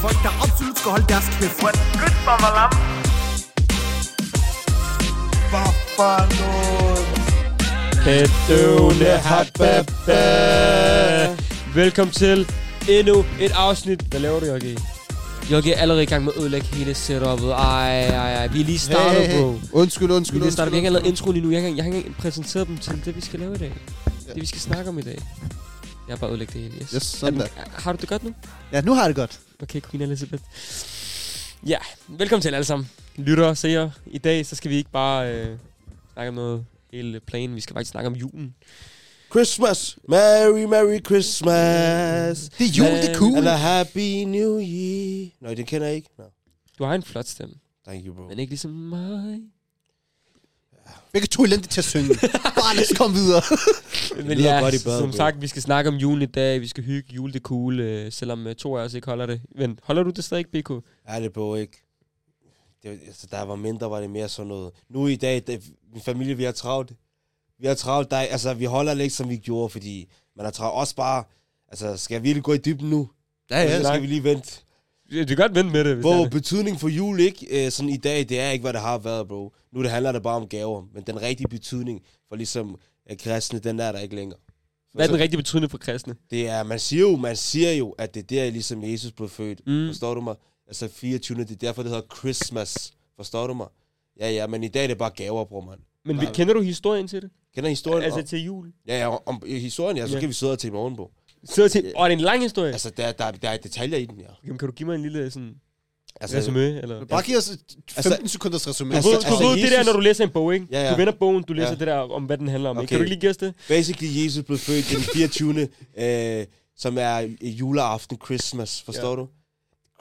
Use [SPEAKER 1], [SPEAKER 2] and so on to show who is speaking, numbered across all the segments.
[SPEAKER 1] folk, der absolut skal holde deres kæft.
[SPEAKER 2] What's good, Babalam?
[SPEAKER 3] Bedøvende hababa. Velkommen til endnu et afsnit. Hvad laver du, Jokke? Jokke er allerede i gang med at ødelægge hele setup'et. Ej, ej, ej. Vi er lige startet, hey, hey, hey. bro. Vi
[SPEAKER 4] Undskyld, undskyld,
[SPEAKER 3] er lige startet. Vi har ikke
[SPEAKER 4] undskyld.
[SPEAKER 3] lavet introen endnu. Jeg har ikke, jeg har ikke engang præsenteret dem til det, vi skal lave i dag. Det, vi skal snakke om i dag. Jeg har bare ødelægget det hele, yes.
[SPEAKER 4] Yes, sådan
[SPEAKER 3] Jamen,
[SPEAKER 4] der.
[SPEAKER 3] Har du det godt nu?
[SPEAKER 4] Ja, nu har jeg det godt.
[SPEAKER 3] Okay, Queen Elizabeth. Ja, velkommen til alle sammen. Lyttere og seere. I dag så skal vi ikke bare øh, snakke om noget helt plan. Vi skal faktisk snakke om julen.
[SPEAKER 5] Christmas, Merry Merry Christmas.
[SPEAKER 4] Det er jul, det er cool.
[SPEAKER 5] Eller Happy New Year. Nej, den kender jeg ikke. No.
[SPEAKER 3] Du har en flot stemme,
[SPEAKER 5] Thank you, bro.
[SPEAKER 3] men ikke ligesom mig.
[SPEAKER 4] Begge to er elendige til at synge. Bare lad os komme videre.
[SPEAKER 3] Men
[SPEAKER 5] lyder
[SPEAKER 3] ja,
[SPEAKER 5] godt i
[SPEAKER 3] bad,
[SPEAKER 5] badet,
[SPEAKER 3] som
[SPEAKER 5] bro.
[SPEAKER 3] sagt, vi skal snakke om julen i dag. Vi skal hygge jul, det er cool, øh, selvom øh, to af os ikke holder det. Men holder du det stadig, BK?
[SPEAKER 5] Er det på ikke? Det, var- altså, da jeg var mindre, var det mere sådan noget. Nu i dag, det, min familie, vi har travlt. Vi har travlt dig. Altså, vi holder lidt, som vi gjorde, fordi man har travlt. Også bare, altså, skal jeg virkelig gå i dybden nu?
[SPEAKER 4] Ja,
[SPEAKER 5] Eller skal vi lige vente.
[SPEAKER 3] Ja, Du kan godt vente med det, hvis det
[SPEAKER 5] Bro,
[SPEAKER 3] er det.
[SPEAKER 5] betydning for jul ikke, øh, sådan i dag, det er ikke, hvad det har været, bro. Nu det handler det bare om gaver, men den rigtige betydning for ligesom øh, kristne, den er der ikke længere.
[SPEAKER 3] Hvad er den
[SPEAKER 5] Så-
[SPEAKER 3] rigtige betydning for kristne?
[SPEAKER 5] Det er, man siger jo, man siger jo, at det er der, ligesom Jesus blev født.
[SPEAKER 3] Mm.
[SPEAKER 5] Mm. Forstår du mig? Altså 24. Det er derfor, det hedder Christmas. Forstår du mig? Ja, ja, men i dag er det bare gaver, bror, mand.
[SPEAKER 3] Men vi,
[SPEAKER 5] Nej.
[SPEAKER 3] kender du historien til det?
[SPEAKER 5] Kender I historien? Altså,
[SPEAKER 3] Altså
[SPEAKER 5] om,
[SPEAKER 3] til jul?
[SPEAKER 5] ja, ja, om i historien, ja, så
[SPEAKER 3] Ja.
[SPEAKER 5] yeah. kan vi sidde her til i morgen, bro.
[SPEAKER 3] Så til, og det er en lang historie.
[SPEAKER 5] Altså, der, der, der er detaljer i den, ja.
[SPEAKER 3] Jamen, kan du give mig en lille sådan,
[SPEAKER 5] Altså,
[SPEAKER 3] resume? Eller?
[SPEAKER 4] Bare giv os et 15
[SPEAKER 5] Altså-
[SPEAKER 4] sekunders resume.
[SPEAKER 3] Du
[SPEAKER 5] Altså-
[SPEAKER 3] ved, du ved det der,
[SPEAKER 5] Jesus-
[SPEAKER 3] når du læser en bog, ikke?
[SPEAKER 5] Ja, ja.
[SPEAKER 3] Du vender bogen, du læser
[SPEAKER 5] Ja.
[SPEAKER 3] det der om, hvad den handler om. ikke?
[SPEAKER 5] Okay.
[SPEAKER 3] Kan du ikke lige give os det?
[SPEAKER 5] basically Jesus blev født den 24. øh, som er juleaften, Christmas, forstår
[SPEAKER 3] Ja.
[SPEAKER 5] du?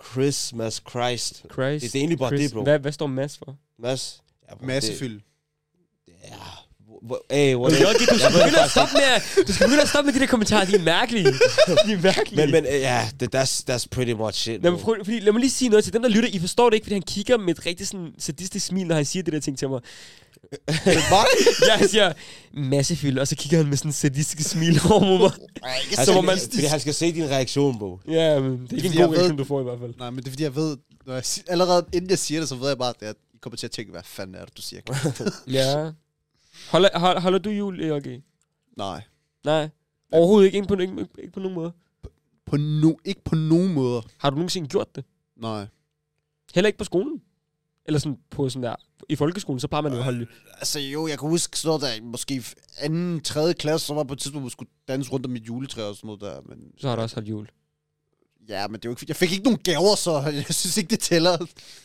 [SPEAKER 5] Christmas, Christ.
[SPEAKER 3] Christ.
[SPEAKER 5] Det- det er egentlig bare
[SPEAKER 3] Christ.
[SPEAKER 5] det, bro.
[SPEAKER 3] Hvad, hvad står Mads for?
[SPEAKER 5] Mads? Ja,
[SPEAKER 4] Altså-
[SPEAKER 5] bro,
[SPEAKER 4] Massefyld.
[SPEAKER 5] det- Ja. Hvor- hvor- Hey, what
[SPEAKER 3] Jokke, du skal begynde at stoppe med, at- du skal begynde at stoppe med de der kommentarer. De er mærkelige. De er mærkelige.
[SPEAKER 5] Men, men øh, ja, that, that's, that's pretty much it.
[SPEAKER 3] Lad
[SPEAKER 5] bro.
[SPEAKER 3] mig, prøve, fordi, lad mig lige sige noget til dem, der lytter. I forstår det ikke, fordi han kigger med et rigtig sådan, sadistisk smil, når han siger det der ting til mig. Jeg siger, massefyld, og så kigger han med sådan en sadistisk smil over mod mig.
[SPEAKER 5] Han
[SPEAKER 4] Altså-
[SPEAKER 3] Så må
[SPEAKER 5] skal,
[SPEAKER 3] man-
[SPEAKER 5] fordi han skal se din reaktion, bro.
[SPEAKER 3] Ja, men det er ikke
[SPEAKER 4] Fordi
[SPEAKER 3] en
[SPEAKER 4] jeg
[SPEAKER 3] god
[SPEAKER 4] ved-
[SPEAKER 3] reaktion, du får i hvert fald.
[SPEAKER 4] Nej, men det er fordi, jeg ved... Når jeg siger, allerede inden jeg siger det, så ved jeg bare, at jeg kommer til at tænke, hvad fanden er det, du siger?
[SPEAKER 3] Ja. Holder, hold, holder du jul, E Jorge?
[SPEAKER 4] Nej.
[SPEAKER 3] Nej. Overhovedet ikke. Ikke på, ikke, ikke på nogen måde.
[SPEAKER 4] På no, ikke på nogen måder.
[SPEAKER 3] Har du nogensinde gjort det?
[SPEAKER 4] Nej.
[SPEAKER 3] Heller ikke på skolen? Eller sådan på sådan der... I folkeskolen, så plejer man jo at holde...
[SPEAKER 4] Altså jo, jeg kan huske sådan noget, der i måske f- anden, tredje klasse, så var på et tidspunkt, hvor vi skulle danse rundt om mit juletræ og sådan noget der, men...
[SPEAKER 3] Så har du også holdt jul.
[SPEAKER 4] Ja, men det er jo ikke... Jeg fik ikke nogen gaver, så jeg synes ikke, det tæller.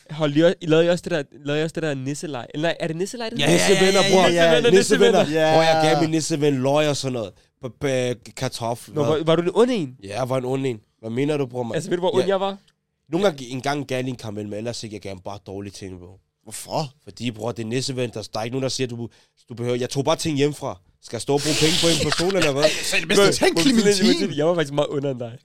[SPEAKER 3] Hold, I, også- I lavede I også det der, lavede I også det der nisselej. Eller nej, er det nisselej? det
[SPEAKER 5] Ja,
[SPEAKER 3] hedder?
[SPEAKER 5] nissevenner, bror.
[SPEAKER 3] Nissevenner, nissevenner.
[SPEAKER 5] nissevenner.
[SPEAKER 4] Ja.
[SPEAKER 5] Hvor jeg gav min nisseven løg og sådan noget. På- på Kartoffel.
[SPEAKER 3] Nå, var, var du den onde en?
[SPEAKER 5] Ja, jeg var en ond en. Hvad mener du, bror, mand?
[SPEAKER 3] Altså, ved du, hvor ond
[SPEAKER 5] Ja.
[SPEAKER 3] jeg var?
[SPEAKER 5] Nogle gange en gang gav jeg lige en karamel, men ellers ikke. Jeg gav ham bare dårlige ting, bro.
[SPEAKER 4] Hvorfor?
[SPEAKER 5] Fordi, bror, det er nisseven. Der, der er ikke nogen, der siger, du, du behøver... Jeg tog bare ting hjemmefra. Skal jeg stå og bruge penge på en person, eller hvad?
[SPEAKER 4] Så er det bedste, tænk
[SPEAKER 3] Hvor-
[SPEAKER 4] Clementine.
[SPEAKER 3] Jeg var faktisk meget under end dig.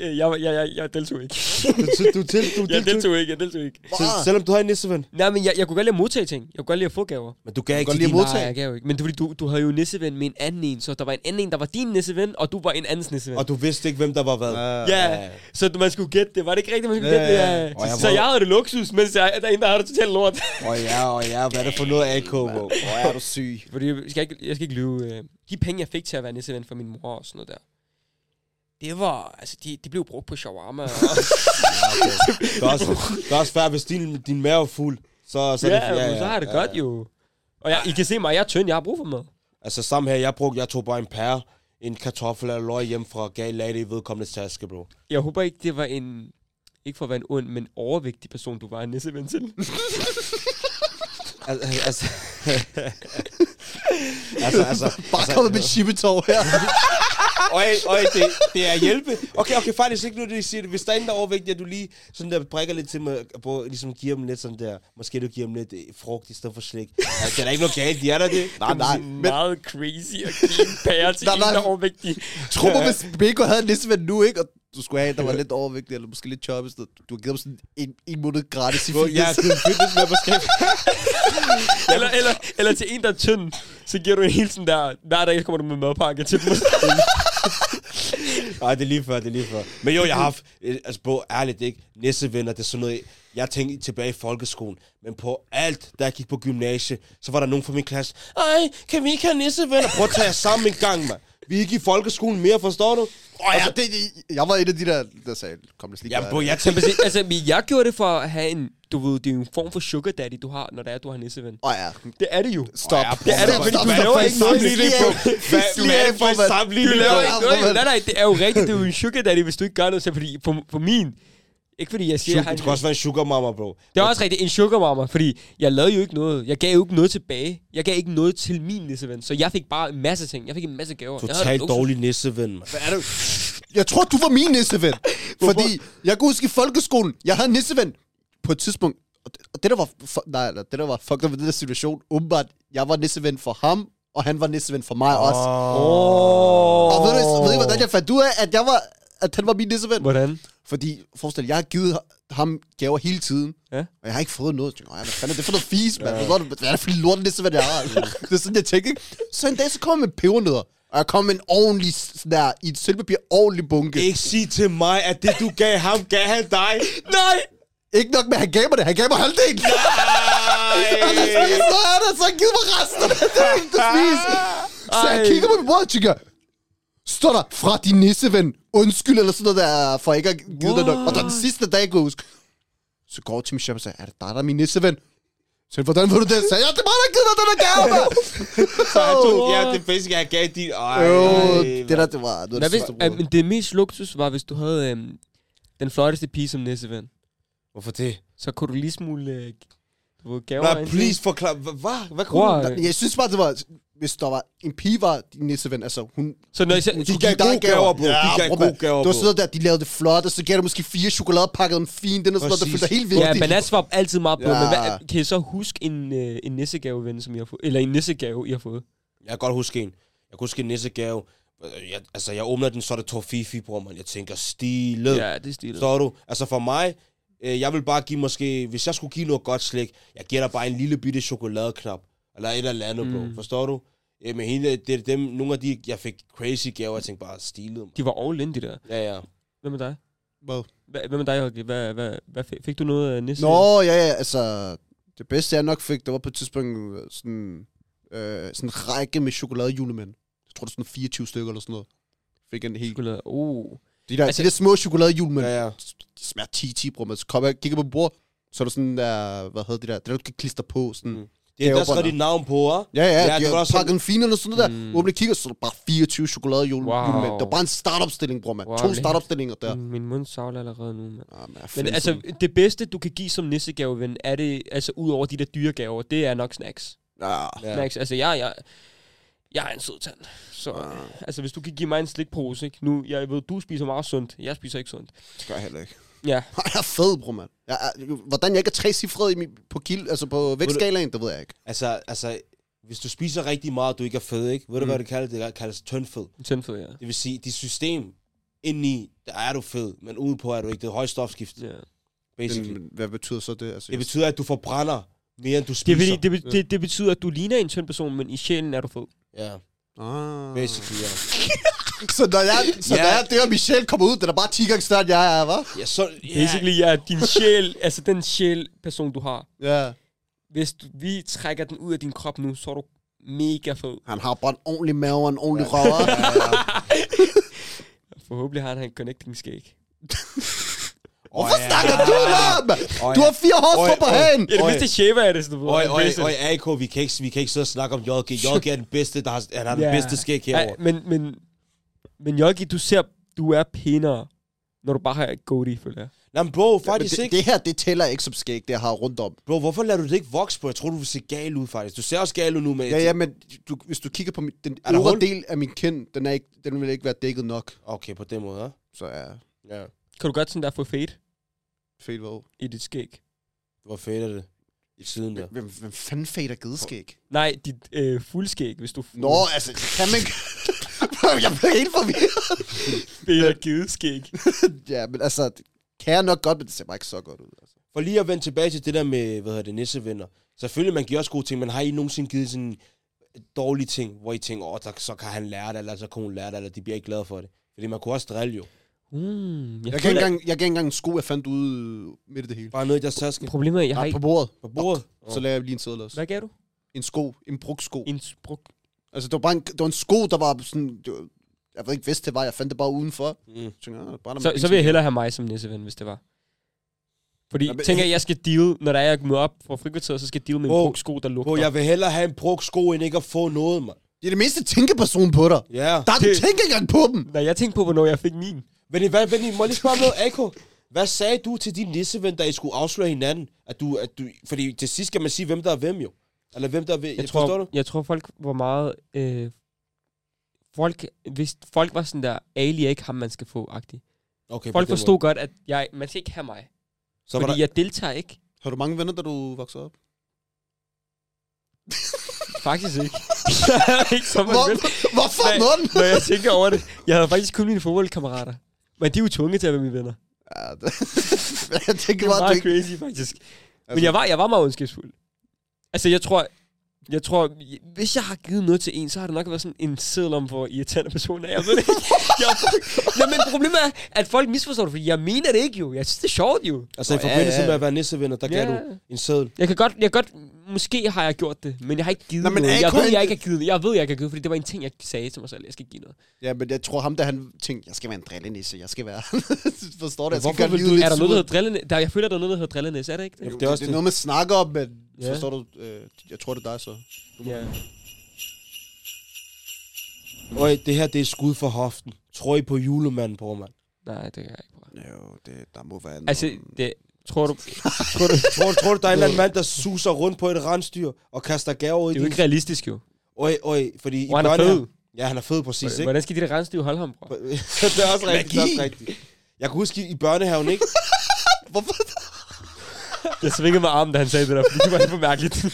[SPEAKER 3] Øh, Jeg, var- jeg, jeg, jeg deltog ikke.
[SPEAKER 5] Du, du, du, til, du,
[SPEAKER 3] Jeg
[SPEAKER 5] til,
[SPEAKER 3] deltog ikke, jeg deltog ikke.
[SPEAKER 4] Bare.
[SPEAKER 5] selvom du har en nisseven.
[SPEAKER 3] Nej, men jeg, jeg kunne godt lide at modtage ting. Jeg kunne godt lide at få gaver.
[SPEAKER 5] Men du gav ikke
[SPEAKER 4] godt
[SPEAKER 5] til
[SPEAKER 4] lide
[SPEAKER 5] din...
[SPEAKER 4] at modtage.
[SPEAKER 3] Nej, jeg gav jo ikke. Men det er fordi, du, du havde jo nisseven med en anden en, så der var en anden en, der var din nisseven, og du var en andens nisseven.
[SPEAKER 5] Og du vidste ikke, hvem der var hvad.
[SPEAKER 3] Ja,
[SPEAKER 5] Ja.
[SPEAKER 3] så man skulle gætte det. Var det ikke rigtigt, man skulle
[SPEAKER 4] Ja,
[SPEAKER 3] gætte det?
[SPEAKER 4] ja,
[SPEAKER 3] Ja.
[SPEAKER 5] Og jeg
[SPEAKER 3] Så
[SPEAKER 5] var-
[SPEAKER 3] jeg havde det luksus, mens jeg, der er en, der har det totalt lort.
[SPEAKER 5] Og ja, og ja, hvad er det for noget AK, bro?
[SPEAKER 4] Hvor er du syg.
[SPEAKER 3] Fordi jeg skal ikke, jeg skal ikke lyve. øh, De penge, jeg fik til at være nisseven for min mor og sådan noget der, det var, altså, de, de blev brugt på shawarma. Og,
[SPEAKER 5] Det er også, det er også fair, hvis din, din mave er fuld. Så, så,
[SPEAKER 3] ja,
[SPEAKER 5] er
[SPEAKER 3] ja, ja, så har jeg det godt jo. Og jeg, I kan se mig, jeg er tynd, jeg har brug for mad.
[SPEAKER 5] Altså sammen her, jeg brugte, jeg tog bare en pære, en kartoffel eller løg hjem fra og gav lagde det i vedkommende taske, bro.
[SPEAKER 3] Jeg håber ikke, det var en... Ikke for at være en ond, men overvægtig person, du var en nisseven til.
[SPEAKER 5] Altså, altså, altså, altså,
[SPEAKER 4] Bare kommet med chippetov her.
[SPEAKER 5] Øj, øj, det, det er hjælpe. Okay, okay, faktisk ikke nu, det siger det. Hvis der er en, der er overvægtig, at du lige sådan der prikker lidt til mig, på, ligesom giver dem lidt sådan der, måske du giver dem lidt øh, frugt i stedet for slik. Altså, det er der ikke noget galt, de er der det.
[SPEAKER 4] Nej, nej.
[SPEAKER 3] Men...
[SPEAKER 4] Men
[SPEAKER 3] Meget crazy at give en pære til
[SPEAKER 4] Nej,
[SPEAKER 3] en,
[SPEAKER 4] nej.
[SPEAKER 3] der er overvægtig.
[SPEAKER 4] tro mig, hvis Beko havde en nisseven nu, ikke? Og du skulle have en, der var lidt overvægtig, eller måske lidt choppet. Du har givet ham sådan en, en måned gratis i
[SPEAKER 5] Bro, jeg er
[SPEAKER 4] fitness.
[SPEAKER 5] givet fitness med på skab.
[SPEAKER 3] Eller, eller, eller til en, der er tynd, så giver du en helt sådan der... Hver dag kommer du med madpakke til dem.
[SPEAKER 5] Nej, det er lige før, det er lige før. Men jo, jeg har haft, øh, altså bro, ærligt ikke, nissevenner, det er sådan noget, jeg tænkte tilbage i folkeskolen, men på alt, da jeg gik på gymnasiet, så var der nogen fra min klasse, ej, kan vi ikke have nissevenner? Prøv at tage jer sammen en gang, mand. Vi er ikke i folkeskolen mere, forstår du?
[SPEAKER 4] Og jeg, det, jeg var en af de der, der sagde, kom lad os lige
[SPEAKER 5] Ja, bro,
[SPEAKER 4] det.
[SPEAKER 5] jeg
[SPEAKER 3] Jamen,
[SPEAKER 5] tænkte,
[SPEAKER 3] præcis. altså, men jeg gjorde det for at have en, du ved, det er jo en form for sugar daddy, du har, når det er, du har nisseven.
[SPEAKER 4] Åh ja,
[SPEAKER 3] Det er det jo.
[SPEAKER 4] stop.
[SPEAKER 5] Ja,
[SPEAKER 3] Det er det,
[SPEAKER 5] Stop,
[SPEAKER 3] fordi
[SPEAKER 5] stop,
[SPEAKER 3] du
[SPEAKER 5] stop,
[SPEAKER 3] laver
[SPEAKER 5] stop,
[SPEAKER 3] ikke
[SPEAKER 5] stop,
[SPEAKER 3] noget.
[SPEAKER 5] stop,
[SPEAKER 3] Du
[SPEAKER 5] lige
[SPEAKER 4] stop,
[SPEAKER 5] på.
[SPEAKER 4] stop,
[SPEAKER 5] Hvad
[SPEAKER 4] stop,
[SPEAKER 5] hvad er det
[SPEAKER 4] stop,
[SPEAKER 5] for en
[SPEAKER 4] stop,
[SPEAKER 5] sammenligning?
[SPEAKER 4] stop,
[SPEAKER 5] der
[SPEAKER 3] laver
[SPEAKER 5] er?
[SPEAKER 4] stop,
[SPEAKER 3] ikke noget. Nej, nej, det er jo rigtigt, det er jo en sugar daddy, hvis du ikke gør noget. Så fordi, på, på min, ikke fordi jeg siger,
[SPEAKER 5] Sugar-
[SPEAKER 3] jeg har
[SPEAKER 5] Det kan
[SPEAKER 3] en
[SPEAKER 5] også være en sugar mama, bro.
[SPEAKER 3] Det er også rigtigt en sugarmammer, fordi jeg lavede jo ikke noget. Jeg gav jo ikke noget tilbage. Jeg gav ikke noget til min nisseven, så jeg fik bare en masse ting. Jeg fik en masse gaver. Jeg havde
[SPEAKER 5] Totalt
[SPEAKER 3] det luksus.
[SPEAKER 5] dårlig nisseven, mand.
[SPEAKER 4] Hvad er det? Jeg tror, du var min nisseven. fordi jeg kunne huske i folkeskolen, jeg havde en nisseven på et tidspunkt. Og det, og det der var, fu- nej, eller det der var fucked up ved den der situation, åbenbart, jeg var nisseven for ham, og han var nisseven for mig også.
[SPEAKER 5] Oh.
[SPEAKER 4] Og ved du, ved du, hvordan jeg fandt ud af, at, jeg var, at han var min nisseven?
[SPEAKER 3] Hvordan?
[SPEAKER 4] Fordi, forestil dig, jeg har givet ham gaver hele tiden,
[SPEAKER 3] Ja.
[SPEAKER 4] og jeg har ikke fået noget. Jeg tænker, "Ej, hvad fanden er det for noget fis, mand? Hvad er det- Hvad er det for en lort nisseven, jeg har? Altså, det er sådan, jeg tænker. Så en dag, så kommer jeg med pebernødder, og jeg kommer med en ordentlig, sådan der, i et sølvpapir, ordentlig bunke.
[SPEAKER 5] Ikke sige til mig, at det du gav ham, gav han dig.
[SPEAKER 3] Nej!
[SPEAKER 4] Ikke nok med, at han gav mig det. Han gav mig halvdelen. Han har
[SPEAKER 5] Nej!
[SPEAKER 4] spist noget af det, så han givet mig resten. Det er ikke det spise. Så jeg
[SPEAKER 3] Ej.
[SPEAKER 4] kigger på min bror og tænker, står der fra din nisseven, undskyld eller sådan noget der, for ikke at give dig noget. Og der den sidste dag, jeg kunne huske, så går jeg til min chef og siger, er det dig, der er min nisseven? Så jeg, hvordan ved du det? Så jeg, det er mig, der har givet dig den der gave, mand.
[SPEAKER 5] Så han tog, ja, det er basic, jeg gav din. Ej,
[SPEAKER 4] Jo,
[SPEAKER 5] ej,
[SPEAKER 4] det der, det var, det var
[SPEAKER 3] Hvad
[SPEAKER 4] det
[SPEAKER 3] hvis,
[SPEAKER 4] sidste
[SPEAKER 3] øh,
[SPEAKER 4] bror.
[SPEAKER 3] men det mest luksus var, hvis du havde øhm, den flotteste pige som nisseven.
[SPEAKER 5] Hvorfor det?
[SPEAKER 3] Så kunne du lige smule øh, du ved, gaver.
[SPEAKER 5] Nej,
[SPEAKER 3] ind.
[SPEAKER 5] please forklar. Hvad? Hvad, hvad kunne
[SPEAKER 3] Bror,
[SPEAKER 5] du?
[SPEAKER 3] øh,
[SPEAKER 4] Jeg synes bare, det var, hvis der var en pige, var din nisseven, altså hun
[SPEAKER 3] Så når I så,
[SPEAKER 5] De gav
[SPEAKER 4] give dig
[SPEAKER 5] gode gaver, bro. De
[SPEAKER 4] bror,
[SPEAKER 5] gav gode
[SPEAKER 4] mand.
[SPEAKER 5] gaver,
[SPEAKER 4] Det var
[SPEAKER 5] bro.
[SPEAKER 4] sådan noget der, de lavede det flot, og så gav du måske fire chokoladepakker, en fin, den og sådan noget, der
[SPEAKER 5] Præcis.
[SPEAKER 4] følte dig helt vigtigt.
[SPEAKER 3] Ja, altså- Banas var altid meget blå, ja. men
[SPEAKER 4] Ja.
[SPEAKER 3] hvad, kan I så huske en, øh, en nissegave, ven, som I har fået? Eller en nissegave, I har fået?
[SPEAKER 5] Jeg kan godt huske en. Jeg kan huske en nissegave. Øh, Jeg, altså, jeg åbner den, så er det Torfifi, bror, man. Jeg tænker, stilet.
[SPEAKER 3] Ja, det er stilet.
[SPEAKER 5] Står du? Altså for mig, øh, jeg vil bare give måske, hvis jeg skulle give noget godt slik, jeg giver dig bare en lille bitte chokoladeknap, eller et eller andet, bro.
[SPEAKER 3] Mm.
[SPEAKER 5] Forstår du? Øh, men hende, det er dem, nogle af de, jeg fik crazy gaver, jeg tænkte bare, stilet, man.
[SPEAKER 3] De var all in, de der.
[SPEAKER 5] Ja, ja.
[SPEAKER 3] Hvad med dig?
[SPEAKER 4] Hvad?
[SPEAKER 3] Hva- Hvad med dig, Hockey? Hvad, hvad, hvad fik, fik du noget af Nisse?
[SPEAKER 4] Nå, ja, ja, altså, det bedste jeg nok fik, det var på et tidspunkt øh, sådan, øh, sådan en række med chokoladejulemænd. Jeg tror, det er sådan 24 stykker eller sådan noget. Fik en hel...
[SPEAKER 3] Chokolade. Oh.
[SPEAKER 4] De der,
[SPEAKER 3] Altså-
[SPEAKER 4] altså, de der små chokoladejulemænd,
[SPEAKER 5] ja,
[SPEAKER 4] ja.
[SPEAKER 5] ja.
[SPEAKER 4] de smager 10-10, bror, man. Så kommer jeg og kigger på bordet, så er der sådan der, hvad hedder det der, det der, du kan klister på, sådan...
[SPEAKER 5] Mm. Det er der skrev dit navn på, hva'?
[SPEAKER 4] Ja, ja,
[SPEAKER 5] Ja,
[SPEAKER 4] ja de
[SPEAKER 5] det var
[SPEAKER 4] har
[SPEAKER 5] sådan-
[SPEAKER 4] pakket en fin eller sådan noget der.
[SPEAKER 3] Mm.
[SPEAKER 4] Mm. Åbne kigger, så er der bare 24 chokoladejulemænd.
[SPEAKER 3] Wow.
[SPEAKER 4] Wow. Mm. Det var bare en startopstilling, bror, man.
[SPEAKER 3] Wow,
[SPEAKER 4] to
[SPEAKER 3] lækkert.
[SPEAKER 4] startopstillinger der.
[SPEAKER 3] Ja. Min mund savler allerede nu, mand.
[SPEAKER 4] Ah, man,
[SPEAKER 3] Men altså, det bedste, du kan give som nissegaveven, er det, altså ud over de der dyre gaver, det er nok snacks.
[SPEAKER 4] Ja.
[SPEAKER 5] Ja.
[SPEAKER 3] Ja. Snacks, altså jeg, jeg, jeg er en sød tand. Så,
[SPEAKER 4] Ah.
[SPEAKER 3] altså hvis du kan give mig en slikpose, ikke? Nu, jeg ved, du spiser meget sundt, jeg spiser ikke sundt.
[SPEAKER 4] Det gør jeg heller ikke.
[SPEAKER 3] Ja.
[SPEAKER 4] Jeg er fed, bror, mand. Jeg er, hvordan jeg ikke er trecifret i min, på, kil, altså på vægtskalaen, det ved jeg ikke.
[SPEAKER 5] Altså, altså, hvis du spiser rigtig meget, og du ikke er fed, ikke? Ved du, mm. hvad det kaldes? Det kaldes tyndfed.
[SPEAKER 3] Tændfed, ja.
[SPEAKER 5] Det vil sige, dit system indeni, der er du fed, men udenpå er du ikke. Det er højt stofskift,
[SPEAKER 3] ja.
[SPEAKER 5] basically.
[SPEAKER 4] Men, hvad betyder så det? Altså,
[SPEAKER 5] det betyder, at du forbrænder mere, end du
[SPEAKER 3] Det,
[SPEAKER 5] spiser.
[SPEAKER 3] er fordi, det, be- det, det, betyder, at du ligner en tynd person, men i sjælen er du fed.
[SPEAKER 5] Ja,
[SPEAKER 4] Ah.
[SPEAKER 5] basically, ja.
[SPEAKER 4] Så når jeg, så
[SPEAKER 5] Ja.
[SPEAKER 4] når jeg, det og Michelle kommer ud, den er bare 10 gange større, end jeg er, hva'?
[SPEAKER 5] Ja, så, ja.
[SPEAKER 3] Basically, ja, din sjæl, altså den sjæl person, du har.
[SPEAKER 4] Ja.
[SPEAKER 3] hvis du, vi trækker den ud af din krop nu, så er du mega fed.
[SPEAKER 4] Han har bare en ordentlig mave og en ordentlig ja. røver.
[SPEAKER 3] Forhåbentlig har han en connecting skæg.
[SPEAKER 4] Hvorfor snakker du der, mand? Du har fire hårstrå på
[SPEAKER 5] Oj, oj.
[SPEAKER 4] hagen.
[SPEAKER 3] Ja, det
[SPEAKER 5] Øj.
[SPEAKER 3] mindste shaver er det, sådan du ved.
[SPEAKER 5] Øj, øj,
[SPEAKER 3] Vincent.
[SPEAKER 5] øj, AK, vi kan, ikke, vi kan ikke sidde og snakke om JG. JG er den bedste, der har, han har den
[SPEAKER 3] Ja.
[SPEAKER 5] bedste skæg
[SPEAKER 3] Ej,
[SPEAKER 5] herovre.
[SPEAKER 3] men, men, men Jogi, du ser, du er pænere, når du bare har goatee, føler jeg.
[SPEAKER 5] Nej, men bro,
[SPEAKER 4] Men
[SPEAKER 5] faktisk
[SPEAKER 4] det,
[SPEAKER 5] ikke.
[SPEAKER 4] det her, det tæller ikke som skæg, det jeg har rundt om.
[SPEAKER 5] Bro, hvorfor lader du det ikke vokse på? Jeg tror, du vil se gal ud, faktisk. Du ser også gal ud nu, men...
[SPEAKER 4] Ja, ja, men du, hvis du kigger på min, den
[SPEAKER 5] Er der
[SPEAKER 4] øvre
[SPEAKER 5] hul?
[SPEAKER 4] del af min kind, den, er ikke, den vil ikke være dækket nok.
[SPEAKER 5] Okay, på den måde, ja.
[SPEAKER 4] Så ja,
[SPEAKER 5] Ja.
[SPEAKER 3] Kan du godt sådan der få fade
[SPEAKER 4] fedt hvad?
[SPEAKER 3] i dit skæg?
[SPEAKER 5] Hvor fedt er det? I siden der.
[SPEAKER 4] Hvem, hvem fanden fader gedeskæg?
[SPEAKER 3] Nej, dit øh, fuldskæg, hvis du
[SPEAKER 4] Nå, altså, det kan man ikke... jeg blev helt forvirret.
[SPEAKER 3] fader gedeskæg.
[SPEAKER 4] ja, men altså, det kan jeg nok godt, men det ser bare ikke så godt ud. Altså.
[SPEAKER 5] For lige at vende tilbage til det der med, hvad hedder det, nissevenner. Selvfølgelig, man giver også gode ting, men har I nogensinde givet sådan dårlige ting, hvor I tænker, åh, oh, så kan han lære det, eller så kan hun lære det, eller de bliver ikke glade for det. Fordi man kunne også drille jo.
[SPEAKER 3] Mm, jeg,
[SPEAKER 4] Jeg
[SPEAKER 3] jeg
[SPEAKER 4] gav,
[SPEAKER 3] kan ikke
[SPEAKER 4] ikke engang, jeg gav ikke engang en sko, jeg fandt ude midt i det hele.
[SPEAKER 5] Bare noget i deres taske.
[SPEAKER 3] Problemet er, jeg har
[SPEAKER 4] Nej,
[SPEAKER 3] ikke...
[SPEAKER 4] på bordet.
[SPEAKER 5] På bordet.
[SPEAKER 4] Så lavede jeg lige en sædel også.
[SPEAKER 3] Hvad gav du?
[SPEAKER 4] En sko. En brugt sko.
[SPEAKER 3] En spruk.
[SPEAKER 4] Altså, det var bare en, det var en sko, der var sådan... Det var, jeg ved ikke, hvis det var. Jeg fandt det bare udenfor.
[SPEAKER 5] Mm.
[SPEAKER 4] Jeg tænkte, ah, brænder
[SPEAKER 3] Så,
[SPEAKER 4] mig
[SPEAKER 3] så vil jeg hellere have mig som nisseven, hvis det var. Fordi,
[SPEAKER 4] Nå, men-
[SPEAKER 3] tænker jeg, jeg skal deal, når der er, jeg møder op fra frikvarteret, så skal jeg deal med
[SPEAKER 5] Bro,
[SPEAKER 3] en brugt sko, der lugter.
[SPEAKER 5] Bro, jeg vil hellere have en brugt sko, end ikke at få noget, mand.
[SPEAKER 4] Det er det mindste tænkeperson på dig.
[SPEAKER 5] Ja.
[SPEAKER 4] Der er du
[SPEAKER 3] Det-
[SPEAKER 4] tænker ikke engang på dem.
[SPEAKER 3] Nej, jeg tænkte på, hvornår jeg fik min.
[SPEAKER 5] Benny, hvad, Benny, må jeg lige spørge om noget, Ako? Hvad sagde du til din nisseven, da I skulle afsløre hinanden? At du, at du, fordi til sidst skal man sige, hvem der er hvem jo. Eller hvem der er hvem.
[SPEAKER 3] Jeg, jeg,
[SPEAKER 5] Forstår
[SPEAKER 3] tror,
[SPEAKER 5] du?
[SPEAKER 3] jeg tror, folk var meget... Øh, folk, hvis folk var sådan der, Ali er ikke ham, man skal få, agtig.
[SPEAKER 5] Okay, på
[SPEAKER 3] Folk
[SPEAKER 5] den
[SPEAKER 3] forstod godt, at jeg, man skal ikke have mig.
[SPEAKER 5] måde. Så var
[SPEAKER 3] fordi
[SPEAKER 5] der,
[SPEAKER 3] jeg deltager ikke.
[SPEAKER 4] Har du mange venner, da du voksede op?
[SPEAKER 3] Faktisk ikke. jeg havde ikke så mange
[SPEAKER 4] Hvor,
[SPEAKER 3] venner.
[SPEAKER 4] hvorfor
[SPEAKER 3] Nej.
[SPEAKER 4] munden?
[SPEAKER 3] Når jeg tænker over det. Jeg havde faktisk kun mine fodboldkammerater. Men de er jo tvunget til at være mine venner.
[SPEAKER 4] Ja, det- jeg tænker
[SPEAKER 3] Det
[SPEAKER 4] bare,
[SPEAKER 3] var
[SPEAKER 4] at du
[SPEAKER 3] meget
[SPEAKER 4] ikke...
[SPEAKER 3] crazy, faktisk. Men
[SPEAKER 4] Altså-
[SPEAKER 3] jeg var, jeg var meget ondskabsfuld. Altså, jeg tror... Jeg tror, hvis jeg har givet noget til en, så har det nok været sådan en seddel om, hvor irriterende personen er. Jeg ved det ikke. Jeg, ja, men problemet er, at folk misforstår det, fordi jeg mener det ikke jo. Jeg synes, det er sjovt jo.
[SPEAKER 5] altså i
[SPEAKER 4] Nå, ja,
[SPEAKER 5] forbindelse
[SPEAKER 4] ja.
[SPEAKER 5] med at være nissevenner, der gav
[SPEAKER 3] Ja.
[SPEAKER 5] du en seddel.
[SPEAKER 3] Jeg kan godt, jeg kan godt, måske har jeg gjort det, men jeg har ikke givet
[SPEAKER 4] Nå,
[SPEAKER 3] Nå,
[SPEAKER 4] men
[SPEAKER 3] men noget. Jeg
[SPEAKER 4] AK-
[SPEAKER 3] ved, jeg ikke har givet Jeg ved, jeg ikke har givet, fordi det var en ting, jeg sagde til mig selv, jeg skal ikke give noget.
[SPEAKER 4] Ja, men jeg tror ham, da han tænkte, jeg skal være en drillenisse, jeg skal være... Forstår du? Jeg skal
[SPEAKER 5] hvorfor
[SPEAKER 4] gøre
[SPEAKER 5] vil
[SPEAKER 4] livet
[SPEAKER 5] du-
[SPEAKER 4] lidt
[SPEAKER 3] Er der noget, der
[SPEAKER 4] surt.
[SPEAKER 3] hedder drillenæs? Der, jeg føler, der er noget, der hedder drillenæs. Er det ikke det?
[SPEAKER 5] Jo,
[SPEAKER 4] Det er, også det er noget, man snakker om, men
[SPEAKER 3] Ja.
[SPEAKER 4] forstår du? Øh, jeg tror, det er dig så.
[SPEAKER 3] Ja.
[SPEAKER 5] Øj, det her, det er skud for hoften. Tror I på julemanden, bror, mand?
[SPEAKER 3] Nej, det kan jeg ikke. Bro.
[SPEAKER 4] Jo, det, der må være
[SPEAKER 3] Altså, det, tror du... tror du
[SPEAKER 5] Tror, du- tror du, der er en eller anden mand, der suser rundt på et rensdyr og kaster gaver ud
[SPEAKER 3] det
[SPEAKER 5] i
[SPEAKER 3] er jo
[SPEAKER 5] din...
[SPEAKER 3] ikke realistisk, jo.
[SPEAKER 5] Øj, øj, fordi... i
[SPEAKER 3] Og han er
[SPEAKER 5] børnehaven-
[SPEAKER 3] fed.
[SPEAKER 5] Ja, han er fed, præcis, ikke?
[SPEAKER 3] Hvordan skal de der rensdyr holde ham, bror?
[SPEAKER 5] det er også rigtigt, det er også rigtigt. Jeg kunne huske i- i børnehaven, ikke?
[SPEAKER 4] Hvorfor?
[SPEAKER 3] Jeg svingede med armen, da han sagde det der, fordi det var helt for mærkeligt.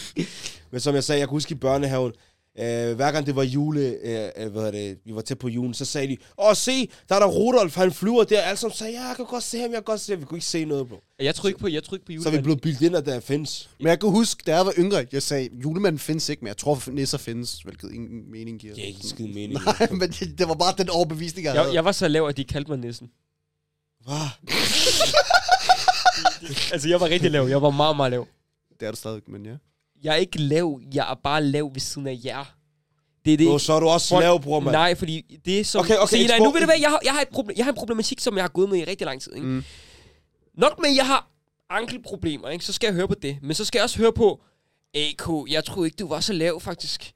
[SPEAKER 5] Men som jeg sagde, jeg kunne huske i børnehaven, øh, hver gang det var jule, øh, øh, hvad hedder det, vi var tæt på julen, så sagde de, åh se, der er der Rudolf, han flyver der. Alle sammen sagde, ja, jeg kan godt se ham, jeg kan godt se ham. Vi kunne ikke se noget, bro.
[SPEAKER 3] Jeg tror ikke på, jeg tror ikke på
[SPEAKER 5] Så er vi
[SPEAKER 3] julemanden.
[SPEAKER 5] blevet bildt ind, at der findes.
[SPEAKER 4] Men jeg kan huske, da jeg var yngre, jeg sagde, julemanden findes ikke, men jeg tror, nisser findes, hvilket ingen mening giver.
[SPEAKER 5] Det er ikke en skid mening.
[SPEAKER 4] Nej, men det, det var bare den overbevisning, jeg,
[SPEAKER 3] Jeg,
[SPEAKER 4] havde.
[SPEAKER 3] jeg var så lav, at de kaldte mig nissen.
[SPEAKER 5] Hvad?
[SPEAKER 3] Altså, jeg var rigtig lav. Jeg var meget, meget lav.
[SPEAKER 4] Det er det stadig, men ja.
[SPEAKER 3] Jeg er ikke lav. Jeg er bare lav ved siden af jer. Det er det.
[SPEAKER 5] Bro, så er du også
[SPEAKER 3] Folk-
[SPEAKER 5] slav, bror, mand.
[SPEAKER 3] Nej, fordi det er som...
[SPEAKER 5] Okay, okay,
[SPEAKER 3] Se, nej,
[SPEAKER 5] ekspor-
[SPEAKER 3] nu ved du hvad, jeg har, jeg, har et problem, jeg har en problematik, som jeg har gået med i rigtig lang tid. Ikke?
[SPEAKER 4] Mm.
[SPEAKER 3] Mm. Nok med, at jeg har ankelproblemer, ikke? så skal jeg høre på det. Men så skal jeg også høre på, AK, jeg troede ikke, du var så lav, faktisk.